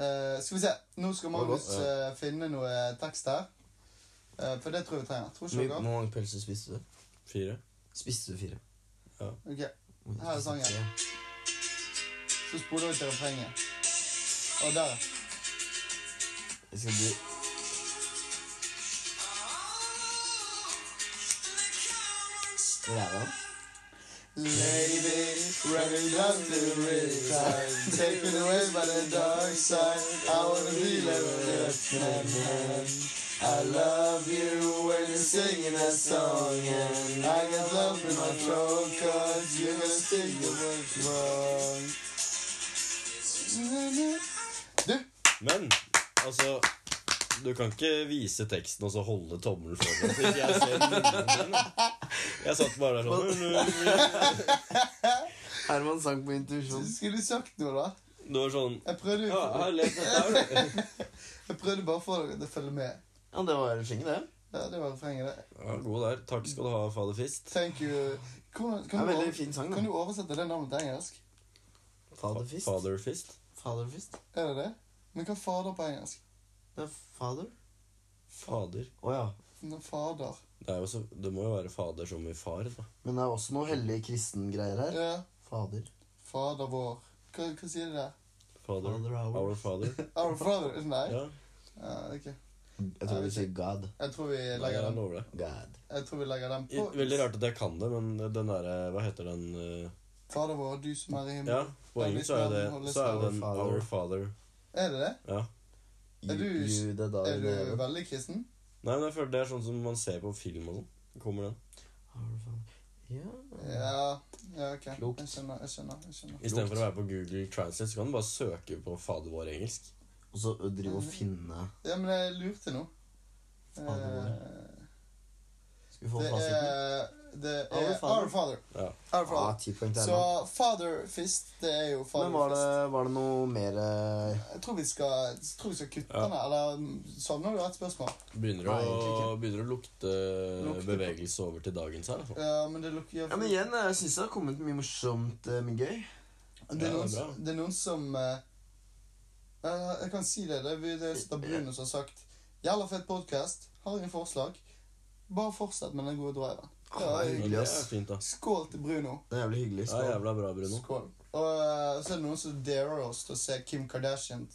[SPEAKER 2] Eh, skal vi se. Nå skal
[SPEAKER 3] Var det
[SPEAKER 2] Magnus
[SPEAKER 3] godt?
[SPEAKER 2] eh, finne noe tekst her. Eh, for det tror jeg vi trenger. Tror
[SPEAKER 3] Hvor
[SPEAKER 2] ikke dere?
[SPEAKER 3] mange pølser spiste du?
[SPEAKER 4] Fire.
[SPEAKER 3] Spiste du fire?
[SPEAKER 2] Ok, Her er sangen. Så spoler vi til refrenget. Og der.
[SPEAKER 3] Jeg skal bli Hvor er han?
[SPEAKER 2] Lady, ready down to retire. Take it away by the dark side. I wanna be like a left man. I love you when you're singing that song. And I got love in my throat cause you're gonna think it was wrong. Du,
[SPEAKER 4] Men altså Du kan ikke vise teksten og så holde tommelen foran. Så ikke jeg ser linjene dine. Jeg satt bare der sånn
[SPEAKER 3] Herman sang på intuisjon.
[SPEAKER 2] skulle du sagt noe, da?
[SPEAKER 4] Det var sånn
[SPEAKER 2] Jeg prøvde,
[SPEAKER 4] ja, jeg har lest dette her, da.
[SPEAKER 2] jeg prøvde bare for dere til å følge med.
[SPEAKER 3] Ja, det var refrenget, det.
[SPEAKER 2] Ja, det var refrenget, det.
[SPEAKER 4] ja, God der. Takk skal du ha, fader Fist.
[SPEAKER 2] Thank you. Hvordan,
[SPEAKER 3] Det er
[SPEAKER 2] kan,
[SPEAKER 3] en
[SPEAKER 2] du
[SPEAKER 3] veldig
[SPEAKER 2] over,
[SPEAKER 3] fin sang,
[SPEAKER 2] kan
[SPEAKER 3] da.
[SPEAKER 2] du oversette det navnet til engelsk?
[SPEAKER 3] Faderfist.
[SPEAKER 4] Father Fist.
[SPEAKER 3] Faderfist?
[SPEAKER 2] Er det det? Men hva er fader på engelsk?
[SPEAKER 3] Det er fader.
[SPEAKER 4] Fader.
[SPEAKER 3] Å ja.
[SPEAKER 2] Nå, Fader.
[SPEAKER 4] Det, er jo så, det må jo være fader som i far, da.
[SPEAKER 3] Men det er også noe hellig kristengreier her.
[SPEAKER 2] Ja.
[SPEAKER 3] Fader.
[SPEAKER 2] Fader vår. Hva, hva sier de der?
[SPEAKER 4] Father,
[SPEAKER 3] Father
[SPEAKER 4] our,
[SPEAKER 3] our-
[SPEAKER 4] father.
[SPEAKER 2] Our father? Nei?
[SPEAKER 4] Ja,
[SPEAKER 2] Ja, ok.
[SPEAKER 3] Jeg tror vi sier God.
[SPEAKER 2] Jeg tror vi
[SPEAKER 4] Nei,
[SPEAKER 2] legger
[SPEAKER 4] jeg
[SPEAKER 2] den,
[SPEAKER 4] lover det.
[SPEAKER 3] God.
[SPEAKER 2] jeg tror vi legger den
[SPEAKER 4] I-
[SPEAKER 2] på.
[SPEAKER 4] Veldig rart at jeg kan det, men den derre Hva heter den eh,
[SPEAKER 2] Fader vår, du som er i
[SPEAKER 4] Ja,
[SPEAKER 2] himmelen.
[SPEAKER 4] på engelsk så er det Så er det den Our Father.
[SPEAKER 2] Er det det?
[SPEAKER 4] Ja.
[SPEAKER 2] Er du-
[SPEAKER 3] You, det er da
[SPEAKER 2] Er
[SPEAKER 3] vi
[SPEAKER 2] du
[SPEAKER 3] lever.
[SPEAKER 2] veldig kristen?
[SPEAKER 4] Nei, men jeg føler det er sånn som man ser på film og sånn. Kommer den.
[SPEAKER 3] Our Father. Ja.
[SPEAKER 2] Ja. ja ok.
[SPEAKER 3] Klokt.
[SPEAKER 2] Jeg skjønner, jeg skjønner. jeg skjønner.
[SPEAKER 4] Istedenfor å være på Google Translate, så kan du bare søke på fader vår engelsk.
[SPEAKER 3] Og så drive og finne
[SPEAKER 2] Ja, men jeg lurte nå.
[SPEAKER 3] Fader vår.
[SPEAKER 2] Eh,
[SPEAKER 3] Skal vi få
[SPEAKER 2] Det
[SPEAKER 3] fasiten?
[SPEAKER 2] er, det er
[SPEAKER 3] Our Father.
[SPEAKER 2] Our Father.
[SPEAKER 4] Ja.
[SPEAKER 2] Our
[SPEAKER 3] Ja, Ah,
[SPEAKER 2] Father.
[SPEAKER 3] ti poeng til
[SPEAKER 2] Så
[SPEAKER 3] Herman.
[SPEAKER 2] Father Fist, det er jo Father
[SPEAKER 3] Men var det,
[SPEAKER 2] Fist.
[SPEAKER 3] var det noe mer eh,
[SPEAKER 2] Jeg tror vi skal, jeg tror vi skal kutte
[SPEAKER 4] Ja.
[SPEAKER 2] den, eller mm, savner du et spørsmål?
[SPEAKER 4] Begynner
[SPEAKER 3] Nei,
[SPEAKER 4] å,
[SPEAKER 3] egentlig
[SPEAKER 4] begynner å lukte
[SPEAKER 2] Lukte på-
[SPEAKER 4] bevegelse over til dagens her. Altså.
[SPEAKER 2] Ja, Eh, men det lukker
[SPEAKER 3] Ja, men igjen, eh, jeg syns det har kommet mye morsomt, eh, mye gøy.
[SPEAKER 2] det,
[SPEAKER 4] Ja, det
[SPEAKER 2] er noen,
[SPEAKER 4] er bra.
[SPEAKER 2] som- det er noen som eh, eh, Jeg kan si det. Det er, vi- det er Stabrune som har sagt 'Jævla fett podkast. Har ingen forslag. Bare fortsett med den gode driven'.
[SPEAKER 3] Å, det er
[SPEAKER 2] Ja,
[SPEAKER 4] Men det
[SPEAKER 3] hyggelig,
[SPEAKER 4] er
[SPEAKER 3] ass.
[SPEAKER 4] fint, da.
[SPEAKER 2] Skål til Bruno.
[SPEAKER 3] Det er jævlig hyggelig.
[SPEAKER 4] Ja,
[SPEAKER 3] Skål.
[SPEAKER 4] jævla bra, Bruno.
[SPEAKER 2] Skål. Og eh, så er det noen som darer oss til å se Kim Kardashian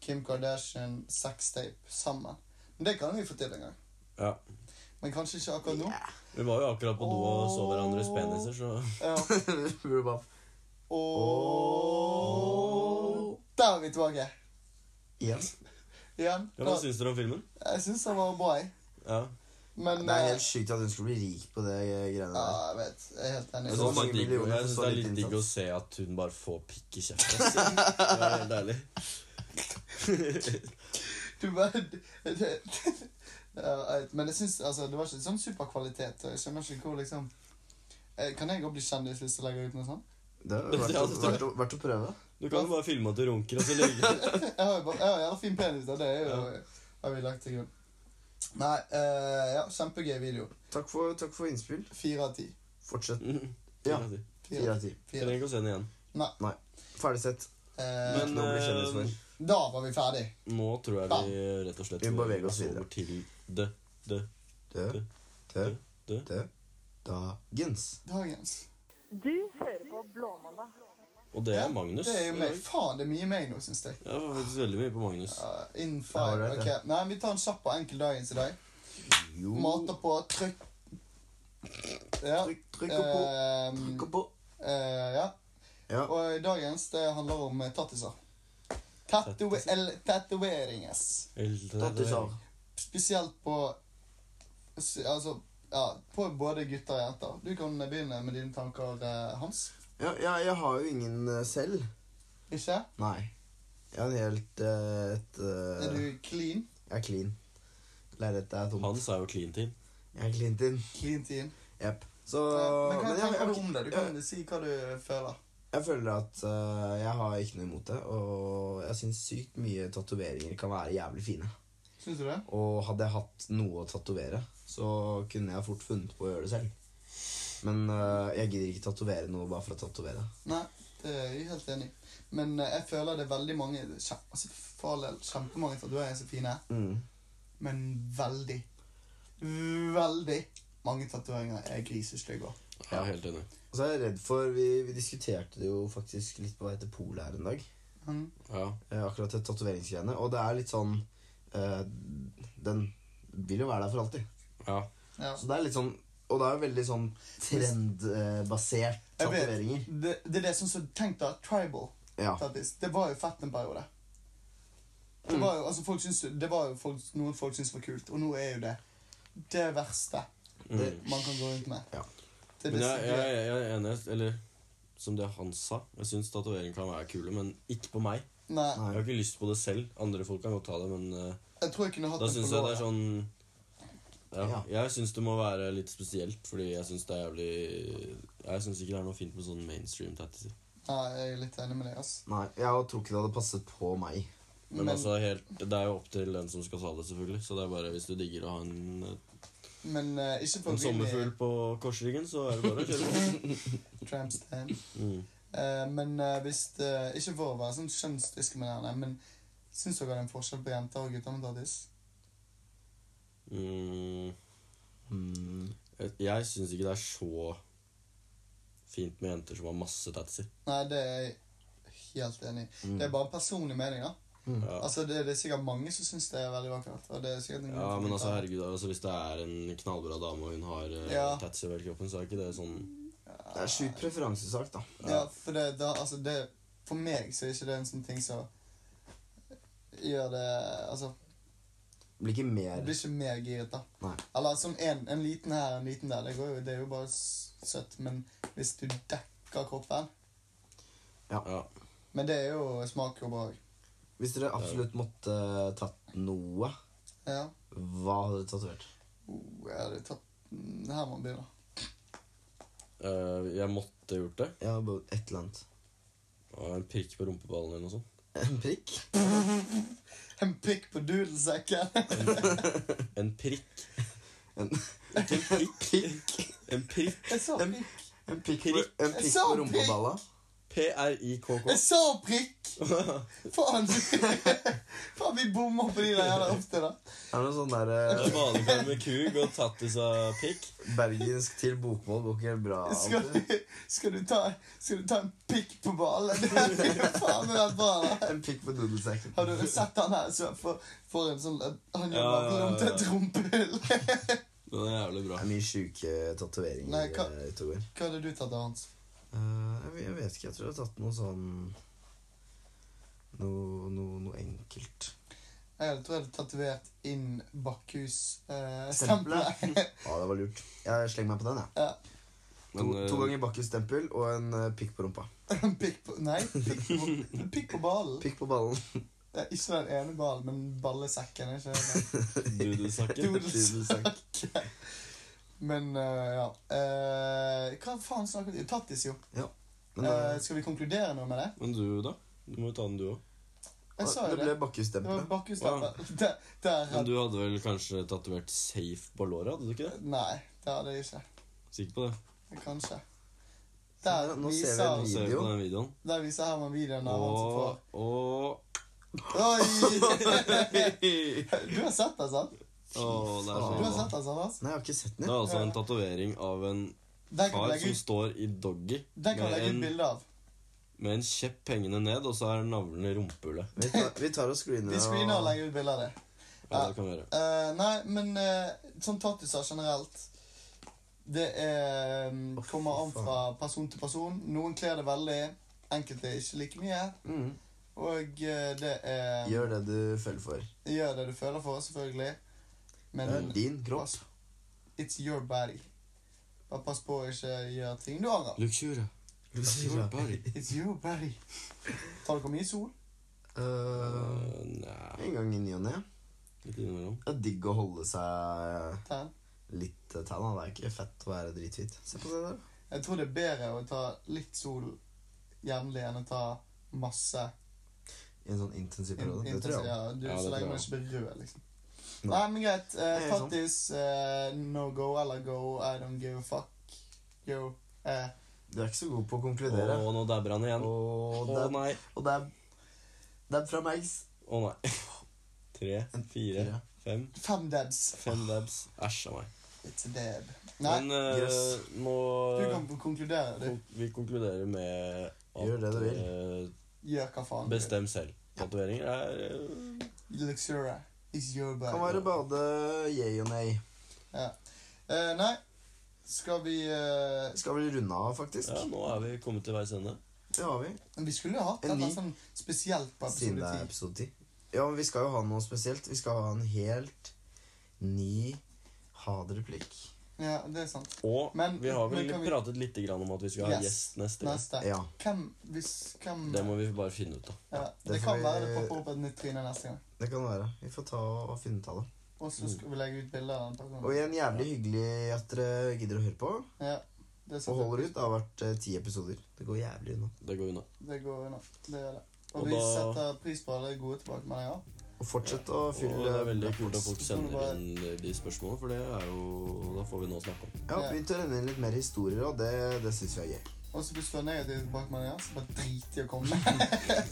[SPEAKER 2] Kim Kardashian sextape sammen. Men det kan vi få til en gang.
[SPEAKER 4] Ja.
[SPEAKER 2] Men kanskje ikke akkurat nå.
[SPEAKER 4] Vi var jo akkurat på do og så hverandres peniser, så
[SPEAKER 2] Ja.
[SPEAKER 3] Burde bare
[SPEAKER 2] Og Der er vi tilbake.
[SPEAKER 3] Igjen.
[SPEAKER 2] Igjen.
[SPEAKER 4] ja, Hva syns dere om filmen?
[SPEAKER 2] Jeg syns den var bra, jeg.
[SPEAKER 4] Ja.
[SPEAKER 2] Men
[SPEAKER 3] Det er helt
[SPEAKER 2] eh,
[SPEAKER 3] sjukt at hun skulle bli rik på det eh, greiene
[SPEAKER 2] Ja,
[SPEAKER 3] der.
[SPEAKER 2] jeg vet. Jeg er helt enig.
[SPEAKER 4] Jeg
[SPEAKER 3] Så
[SPEAKER 4] syns
[SPEAKER 3] mange
[SPEAKER 4] det, er sånn digg-
[SPEAKER 3] millioner for
[SPEAKER 4] jeg synes
[SPEAKER 3] så
[SPEAKER 4] det er
[SPEAKER 3] lite
[SPEAKER 4] litt digg å
[SPEAKER 3] innsats.
[SPEAKER 4] se at hun bare får pikk i kjeften. ass. Det er helt deilig.
[SPEAKER 2] Du bare ja, jeg- Men jeg synes, altså, det var ikke sånn superkvalitet. og Jeg skjønner ikke hvor liksom Eh, Kan jeg òg bli kjendis hvis jeg legger ut noe sånt?
[SPEAKER 3] Det er verdt, å- verdt, å- verdt å prøve.
[SPEAKER 4] Du kan jo bare filme at du runker, og så legge
[SPEAKER 2] Jeg har jo bare, jeg har jævla fin penis, da. Det er jo har vi lagt til grunn. Nei, eh, ja, kjempegøy video.
[SPEAKER 3] Takk for, takk for innspill.
[SPEAKER 2] Fire av ti.
[SPEAKER 3] Fortsett.
[SPEAKER 4] Ja.
[SPEAKER 3] Ja.
[SPEAKER 4] Trenger
[SPEAKER 3] Fire
[SPEAKER 2] Fire av ti.
[SPEAKER 3] av ti.
[SPEAKER 2] Fire av ti.
[SPEAKER 4] ikke å se den igjen.
[SPEAKER 3] Nei. Ferdigsett.
[SPEAKER 2] Eh,
[SPEAKER 4] Men
[SPEAKER 3] Nå blir det
[SPEAKER 4] eh,
[SPEAKER 3] kjendisvenn.
[SPEAKER 2] da var vi ferdig.
[SPEAKER 4] nå tror jeg vi rett og slett
[SPEAKER 3] Vi må bevege oss
[SPEAKER 4] går
[SPEAKER 3] videre.
[SPEAKER 4] over til det, det,
[SPEAKER 3] Dø, dø,
[SPEAKER 4] det, det.
[SPEAKER 3] dø. Dagens.
[SPEAKER 2] Dagens.
[SPEAKER 1] Du hører på Blåmandag.
[SPEAKER 4] Og det er Magnus.
[SPEAKER 2] Det er jo meg. Faen, det er mye meg nå, syns jeg.
[SPEAKER 4] Ja, faktisk veldig mye på Magnus.
[SPEAKER 2] Uh, in
[SPEAKER 3] Ja,
[SPEAKER 2] five.
[SPEAKER 3] det er
[SPEAKER 2] ok.
[SPEAKER 3] det.
[SPEAKER 2] Nei, vi tar en kjapp og enkel dagens i dag.
[SPEAKER 3] Jo.
[SPEAKER 2] Mater på trykk. Ja.
[SPEAKER 3] Trykk, trykk opp på.
[SPEAKER 2] Ehm,
[SPEAKER 3] Trykk opp på.
[SPEAKER 2] eh, ja.
[SPEAKER 3] Ja.
[SPEAKER 2] Og dagens det handler om eh, tattiser. Tatue eller Tatoveringer.
[SPEAKER 3] Tattiser.
[SPEAKER 2] Spesielt på s- Altså ja, på både gutter og jenter. Du kan begynne med dine tanker, eh, Hans.
[SPEAKER 3] Ja, ja, jeg har jo ingen eh, selv.
[SPEAKER 2] Ikke?
[SPEAKER 3] Nei. Jeg har en helt eh, et eh,
[SPEAKER 2] Er du clean?
[SPEAKER 3] Jeg er clean. Lerretet er tomt.
[SPEAKER 4] Hans er jo clean team.
[SPEAKER 3] Jeg er clean tin.
[SPEAKER 2] Clean team?
[SPEAKER 3] Jepp. Så
[SPEAKER 2] Eh, Men hva
[SPEAKER 3] Eh, men jeg, eh.
[SPEAKER 2] tenker
[SPEAKER 3] jeg,
[SPEAKER 2] du om det? Du
[SPEAKER 3] jeg,
[SPEAKER 2] kan si hva du føler.
[SPEAKER 3] jeg føler at eh, jeg har ikke noe imot det, og jeg syns sykt mye tatoveringer kan være jævlig fine.
[SPEAKER 2] Syns du det?
[SPEAKER 3] Og hadde jeg hatt noe å tatovere, så kunne jeg fort funnet på å gjøre det selv. Men eh, jeg gidder ikke tatovere noe bare for å tatovere.
[SPEAKER 2] Nei, det er jeg helt enig i. Men eh, jeg føler det er veldig mange kjem- altså, for all del, Kjempemange tatoveringer som er fine,
[SPEAKER 3] Mm.
[SPEAKER 2] men veldig, veldig mange tatoveringer er grisestygge òg.
[SPEAKER 4] Jeg er helt enig.
[SPEAKER 3] Og så er jeg redd for Vi, vi diskuterte det jo faktisk litt på vei til polet her en dag.
[SPEAKER 2] Mm.
[SPEAKER 4] Ja.
[SPEAKER 3] eh, akkurat det tatoveringsgreiene. Og det er litt sånn eh, Den vil jo være der for alltid.
[SPEAKER 4] ja.
[SPEAKER 2] Ja.
[SPEAKER 3] Så det er litt sånn Og det er jo veldig sånn trendbasert
[SPEAKER 2] Jeg vet.
[SPEAKER 3] tatoveringer.
[SPEAKER 2] Det, det er det som så Tenk da, tribal
[SPEAKER 3] Ja.
[SPEAKER 2] tattis. Det var jo fett en periode. Det var jo, altså, folk syns, det var jo folk, noen folk syns var kult, og nå er jo det det verste
[SPEAKER 4] Mm.
[SPEAKER 2] man kan gå rundt med.
[SPEAKER 3] Ja.
[SPEAKER 2] Det er
[SPEAKER 4] Men
[SPEAKER 2] det
[SPEAKER 4] jeg,
[SPEAKER 2] som-
[SPEAKER 4] jeg, jeg er enig, eller som det han sa. Jeg syns tatovering kan være kule, men ikke på meg.
[SPEAKER 2] Nei,
[SPEAKER 4] Jeg har ikke lyst på det selv. Andre folk kan godt ta det, men eh,
[SPEAKER 2] jeg tror jeg kunne hatt
[SPEAKER 4] da
[SPEAKER 2] en
[SPEAKER 4] syns jeg det er sånn ja,
[SPEAKER 3] Ja.
[SPEAKER 4] Jeg syns det må være litt spesielt, fordi jeg syns det er jævlig Jeg syns ikke det er noe fint med sånn mainstream tattiser.
[SPEAKER 2] Ja, jeg er litt enig med deg, ass.
[SPEAKER 3] Nei, jeg tror ikke det hadde passet på meg.
[SPEAKER 4] Men,
[SPEAKER 2] Men-
[SPEAKER 4] altså, helt, det er jo opp til den som skal ta det, selvfølgelig. Så det er bare hvis du digger å ha en,
[SPEAKER 2] Men eh, ikke for
[SPEAKER 4] en sommerfugl på korsryggen, så er det bare å kjøre på.
[SPEAKER 2] Trampstein.
[SPEAKER 4] Mm.
[SPEAKER 2] men eh, hvis det, Ikke for å være sånn kjønnsdiskriminerende, men syns dere det er en forskjell på jenter og gutter med tattis?
[SPEAKER 4] Mm.
[SPEAKER 3] Mm.
[SPEAKER 4] Jeg, jeg syns ikke det er så fint med jenter som har masse tattiser.
[SPEAKER 2] Nei, det er jeg helt enig i. Det er bare en personlig mening, da.
[SPEAKER 4] Mm. Ja.
[SPEAKER 2] Altså, det, det er sikkert mange som syns det er veldig vakkert. Og det er sikkert en grunn
[SPEAKER 4] ja,
[SPEAKER 2] for
[SPEAKER 4] men
[SPEAKER 2] gutter.
[SPEAKER 4] altså, herregud, altså, hvis det er en knallbra dame og hun har uh,
[SPEAKER 2] Ja.
[SPEAKER 4] tattiser over hele kroppen, så er ikke det sånn
[SPEAKER 3] Det er sjukt preferansesak, da.
[SPEAKER 2] Ja, for det, da, altså, det For meg så er ikke det en sånn ting som gjør det Altså,
[SPEAKER 3] Det blir ikke
[SPEAKER 2] jeg
[SPEAKER 3] mer
[SPEAKER 2] blir ikke mer giret, da.
[SPEAKER 3] Nei.
[SPEAKER 2] Eller sånn en, en liten her en liten der. Det, går jo, det er jo bare s- søtt. Men hvis du dekker kroppen
[SPEAKER 4] Ja.
[SPEAKER 2] Men det er jo smak og behag.
[SPEAKER 3] Hvis dere absolutt måtte eh, tatt noe,
[SPEAKER 2] Ja.
[SPEAKER 3] hva hadde dere tatovert?
[SPEAKER 2] Oh, jeg hadde tatt mm, Her må man begynne.
[SPEAKER 4] Eh, jeg måtte gjort det.
[SPEAKER 3] Ja, bare et eller annet.
[SPEAKER 4] Og en prikk på rumpeballen sånn. eller noe sånt.
[SPEAKER 3] En prikk?
[SPEAKER 2] En pikk på dudelsekken!
[SPEAKER 4] En prikk.
[SPEAKER 3] En,
[SPEAKER 4] Ikke en prikk.
[SPEAKER 3] prikk?
[SPEAKER 4] En prikk.
[SPEAKER 2] Jeg sa
[SPEAKER 3] En-
[SPEAKER 2] pikk.
[SPEAKER 3] En prikk på, en prikk
[SPEAKER 2] Så
[SPEAKER 3] på
[SPEAKER 2] prikk!
[SPEAKER 3] rumpeballa?
[SPEAKER 4] P-r-i-k-k.
[SPEAKER 2] Jeg sa prikk! Faen, du- Faen, vi bommer på de der jævla ofte, da.
[SPEAKER 3] Er det noe sånn der eh,
[SPEAKER 4] Svanekar med kuk og tattis av pikk.
[SPEAKER 3] Bergensk til bokmål går ikke helt bra.
[SPEAKER 2] Skal du, skal du, ta, skal du ta en pikk på ballen? Det hadde jo faen meg vært bra. da.
[SPEAKER 3] En pikk på dudelsekken.
[SPEAKER 2] Har du sett han her som får får en sånn Han gjør
[SPEAKER 4] Ja, ja,
[SPEAKER 2] navlen om til et
[SPEAKER 4] ja.
[SPEAKER 2] rumpehull?
[SPEAKER 4] Den er jævlig bra.
[SPEAKER 3] Det er mye sjuke
[SPEAKER 2] Nei,
[SPEAKER 3] tatoveringer
[SPEAKER 2] hva-
[SPEAKER 3] eh, ute og går.
[SPEAKER 2] Hva hadde du tatt av hans?
[SPEAKER 3] Eh, jeg, jeg vet ikke. Jeg tror jeg har tatt noe sånn Noe, noe, noe enkelt.
[SPEAKER 2] Jeg hadde- tror jeg hadde tatovert inn eh, Bakkhus-stempelet.
[SPEAKER 3] Stempelet. Ja, det var lurt. Jeg slenger meg på den, jeg.
[SPEAKER 2] ja.
[SPEAKER 3] To,
[SPEAKER 4] Men, eh,
[SPEAKER 3] to ganger bakkhusstempel og en eh, pikk på rumpa.
[SPEAKER 2] pikk på Nei, pikk på, pikk på ballen.
[SPEAKER 3] Pikk på ballen.
[SPEAKER 2] Det er ikke den ene ballen, men ballesekken. er ikke det?
[SPEAKER 4] Dudelsakken.
[SPEAKER 2] Dudelsekk. Men eh, ja Eh, Hva faen snakker vi om? Tattis, jo.
[SPEAKER 3] Ja. Men,
[SPEAKER 2] Eh,
[SPEAKER 3] eh,
[SPEAKER 2] skal vi konkludere noe med det?
[SPEAKER 4] Men du, da? Du må jo ta den, du òg.
[SPEAKER 2] Jeg sa jo
[SPEAKER 3] det ble
[SPEAKER 2] det. Det var
[SPEAKER 3] bakkestempelet.
[SPEAKER 2] bakkestemper. Der, der
[SPEAKER 4] Men
[SPEAKER 2] hadde
[SPEAKER 4] du hadde vel kanskje tatovert 'safe' på låret? Hadde du ikke det?
[SPEAKER 2] Nei, det hadde jeg ikke.
[SPEAKER 4] Sikker på det?
[SPEAKER 2] Kanskje. Der
[SPEAKER 3] Nå ser vi
[SPEAKER 2] viser,
[SPEAKER 4] Nå ser vi på den videoen.
[SPEAKER 2] der viser Herman videoen av han som får
[SPEAKER 4] Og, og
[SPEAKER 2] Oi!
[SPEAKER 4] Å,
[SPEAKER 2] Du har sett den, sant?
[SPEAKER 4] det er
[SPEAKER 2] Du har
[SPEAKER 4] sånn.
[SPEAKER 2] sett den, sant, Hans?
[SPEAKER 3] Nei, jeg har ikke sett
[SPEAKER 4] Det
[SPEAKER 3] den.
[SPEAKER 4] er
[SPEAKER 3] jeg.
[SPEAKER 4] altså en tatovering av en
[SPEAKER 2] Den kan
[SPEAKER 4] kar
[SPEAKER 2] vi legge
[SPEAKER 4] som
[SPEAKER 2] ut,
[SPEAKER 4] står i doggy
[SPEAKER 2] den kan vi
[SPEAKER 4] med
[SPEAKER 2] legge ut
[SPEAKER 4] en,
[SPEAKER 2] bilde av.
[SPEAKER 4] med en kjepp hengende ned, og så er navlen i rumpehullet.
[SPEAKER 3] Vi tar, vi tar og screener
[SPEAKER 2] Vi screener og
[SPEAKER 3] og
[SPEAKER 2] legger ut bilde av det.
[SPEAKER 4] Ja,
[SPEAKER 2] Ja.
[SPEAKER 4] det kan vi gjøre.
[SPEAKER 2] Eh, nei, men eh, sånn tattiser generelt Det er, mm,
[SPEAKER 3] Å, fy
[SPEAKER 2] kommer an
[SPEAKER 3] faen.
[SPEAKER 2] fra person til person. Noen kler det veldig, enkelte ikke like mye.
[SPEAKER 3] Mm.
[SPEAKER 2] Og eh, det er gjør.
[SPEAKER 3] Gjør det du føler for.
[SPEAKER 2] det du føler for, selvfølgelig.
[SPEAKER 3] Det
[SPEAKER 2] Men
[SPEAKER 3] er din kropp.
[SPEAKER 2] pass, it's your body. Bare pass på å ikke gjøre ting du angrer.
[SPEAKER 4] Luxura. Luxura body.
[SPEAKER 2] It's your body. Tar dere mye sol?
[SPEAKER 3] Eh,
[SPEAKER 4] Øh, Nja
[SPEAKER 3] en gang i ny og ne.
[SPEAKER 4] Litt innimellom.
[SPEAKER 3] Det er digg å holde seg
[SPEAKER 2] Tan?
[SPEAKER 3] litt eh, tanna. Det er ikke fett å være drithvit. Se på det der.
[SPEAKER 2] Jeg tror det er bedre å ta litt sol jevnlig enn å ta masse.
[SPEAKER 3] I en sånn intensiv periode. Det tror
[SPEAKER 2] Intensiv,
[SPEAKER 3] jeg.
[SPEAKER 2] ja, du,
[SPEAKER 4] Ja, det
[SPEAKER 2] så
[SPEAKER 4] tror
[SPEAKER 2] lenge man
[SPEAKER 4] jeg
[SPEAKER 2] ikke blir rød, liksom.
[SPEAKER 3] Nei.
[SPEAKER 2] Nei, men greit. eh,
[SPEAKER 3] Nei, sant.
[SPEAKER 2] tattis, eh, no go eller go, I don't give a fuck. Yo. eh,
[SPEAKER 3] Du er ikke så god på å konkludere.
[SPEAKER 4] Å, nå dabber han igjen.
[SPEAKER 3] Og
[SPEAKER 4] Å
[SPEAKER 3] det er,
[SPEAKER 4] nei.
[SPEAKER 3] og det er, det er fra meg.
[SPEAKER 4] Å nei. Tre, fire,
[SPEAKER 3] Fire.
[SPEAKER 4] fem.
[SPEAKER 2] fem dabs.
[SPEAKER 4] Fem dabs. Æsj a meg.
[SPEAKER 2] It's a dab. Nei,
[SPEAKER 4] Men eh, øh,
[SPEAKER 3] Yes.
[SPEAKER 4] nå
[SPEAKER 2] du kan konkludere, du.
[SPEAKER 4] kon- Vi konkluderer med at
[SPEAKER 3] Gjør det du vil.
[SPEAKER 4] øh,
[SPEAKER 2] Gjør hva faen du vil.
[SPEAKER 4] Bestem selv. Tatoveringer er øh,
[SPEAKER 2] Luxura is your body.
[SPEAKER 3] Kan være bade yay og nei.
[SPEAKER 2] Eh, nei, skal vi eh,
[SPEAKER 3] Skal vel runde av, faktisk.
[SPEAKER 4] Ja, nå er vi kommet til veis ende.
[SPEAKER 3] Det har vi.
[SPEAKER 2] Vi skulle jo hatt
[SPEAKER 3] En
[SPEAKER 2] noe
[SPEAKER 3] ny.
[SPEAKER 2] sånn spesielt på
[SPEAKER 3] Siden det
[SPEAKER 2] episode
[SPEAKER 3] er
[SPEAKER 2] 10.
[SPEAKER 3] episode 10. Ja, men vi skal jo ha noe spesielt. Vi skal ha en helt ny ha-det-replikk.
[SPEAKER 2] Ja, det er sant.
[SPEAKER 4] Og
[SPEAKER 2] Men-
[SPEAKER 4] vi har vel
[SPEAKER 2] men kan vi-
[SPEAKER 4] pratet litt grann om at vi skal ha
[SPEAKER 2] Yes.
[SPEAKER 4] gjest neste gang.
[SPEAKER 2] Neste.
[SPEAKER 3] Ja.
[SPEAKER 2] Hvem, hvis, hvem
[SPEAKER 4] Det må vi bare finne ut av.
[SPEAKER 2] ja,
[SPEAKER 3] det
[SPEAKER 2] Det
[SPEAKER 3] får
[SPEAKER 2] kan
[SPEAKER 3] vi-
[SPEAKER 2] være det popper opp et nytt tryne neste gang.
[SPEAKER 3] Det kan være. Vi får ta og finne ut av det.
[SPEAKER 2] Og så skal vi legge ut bilder av den personen.
[SPEAKER 3] Og igjen, jævlig hyggelig at dere gidder å høre på.
[SPEAKER 2] Ja, det er
[SPEAKER 3] Og
[SPEAKER 2] sant.
[SPEAKER 3] holder ut. Det har vært eh, ti episoder. Det går jævlig unna.
[SPEAKER 4] Det går unna.
[SPEAKER 2] Det går unna. Det gjør det. Og,
[SPEAKER 4] Og
[SPEAKER 2] vi
[SPEAKER 4] da-
[SPEAKER 2] setter pris på alle gode tilbakemeldinger.
[SPEAKER 3] Og fortsett å
[SPEAKER 4] Og
[SPEAKER 3] fylle
[SPEAKER 4] det er veldig kult at
[SPEAKER 3] Blackbox.
[SPEAKER 4] folk sender inn de spørsmålene, for det er jo Da får vi noe å snakke om.
[SPEAKER 3] Ja, begynt å renne inn litt mer historier, og det, det syns vi er gøy.
[SPEAKER 2] Og så hvis du har negative tilbakemeldinger, så bare drit i å komme.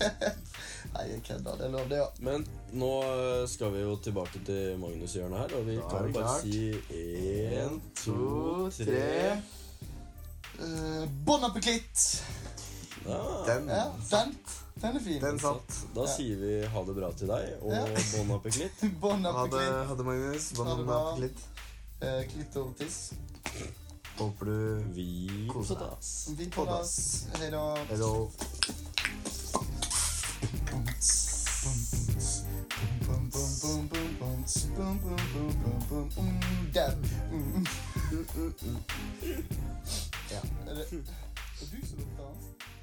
[SPEAKER 2] Nei, jeg kødder. Det er lov, det òg.
[SPEAKER 4] Men nå øh, skal vi jo tilbake til Magnus hjørnet her, og vi
[SPEAKER 3] Da er
[SPEAKER 4] kan
[SPEAKER 3] det
[SPEAKER 4] jo bare
[SPEAKER 3] klart.
[SPEAKER 4] si én,
[SPEAKER 3] to, tre.
[SPEAKER 2] Uh, bon appétit!
[SPEAKER 4] Ja.
[SPEAKER 3] Den,
[SPEAKER 2] Ja, den, den er fin.
[SPEAKER 3] den satt.
[SPEAKER 4] Da
[SPEAKER 2] Ja.
[SPEAKER 4] sier vi ha det bra til deg, og
[SPEAKER 2] Ja.
[SPEAKER 4] bon appétit.
[SPEAKER 2] Bon
[SPEAKER 3] Ha det,
[SPEAKER 2] appétit.
[SPEAKER 3] ha det, Magnus.
[SPEAKER 2] Ha det
[SPEAKER 3] Banan
[SPEAKER 2] bra.
[SPEAKER 3] er litt.
[SPEAKER 2] Uh, Klittortiss.
[SPEAKER 3] Håper du
[SPEAKER 4] Vi
[SPEAKER 3] Kos deg.
[SPEAKER 4] oss.
[SPEAKER 2] Vi poddes. Hei da.
[SPEAKER 3] Hello.
[SPEAKER 2] Ja. Er det er det du som lukter hans?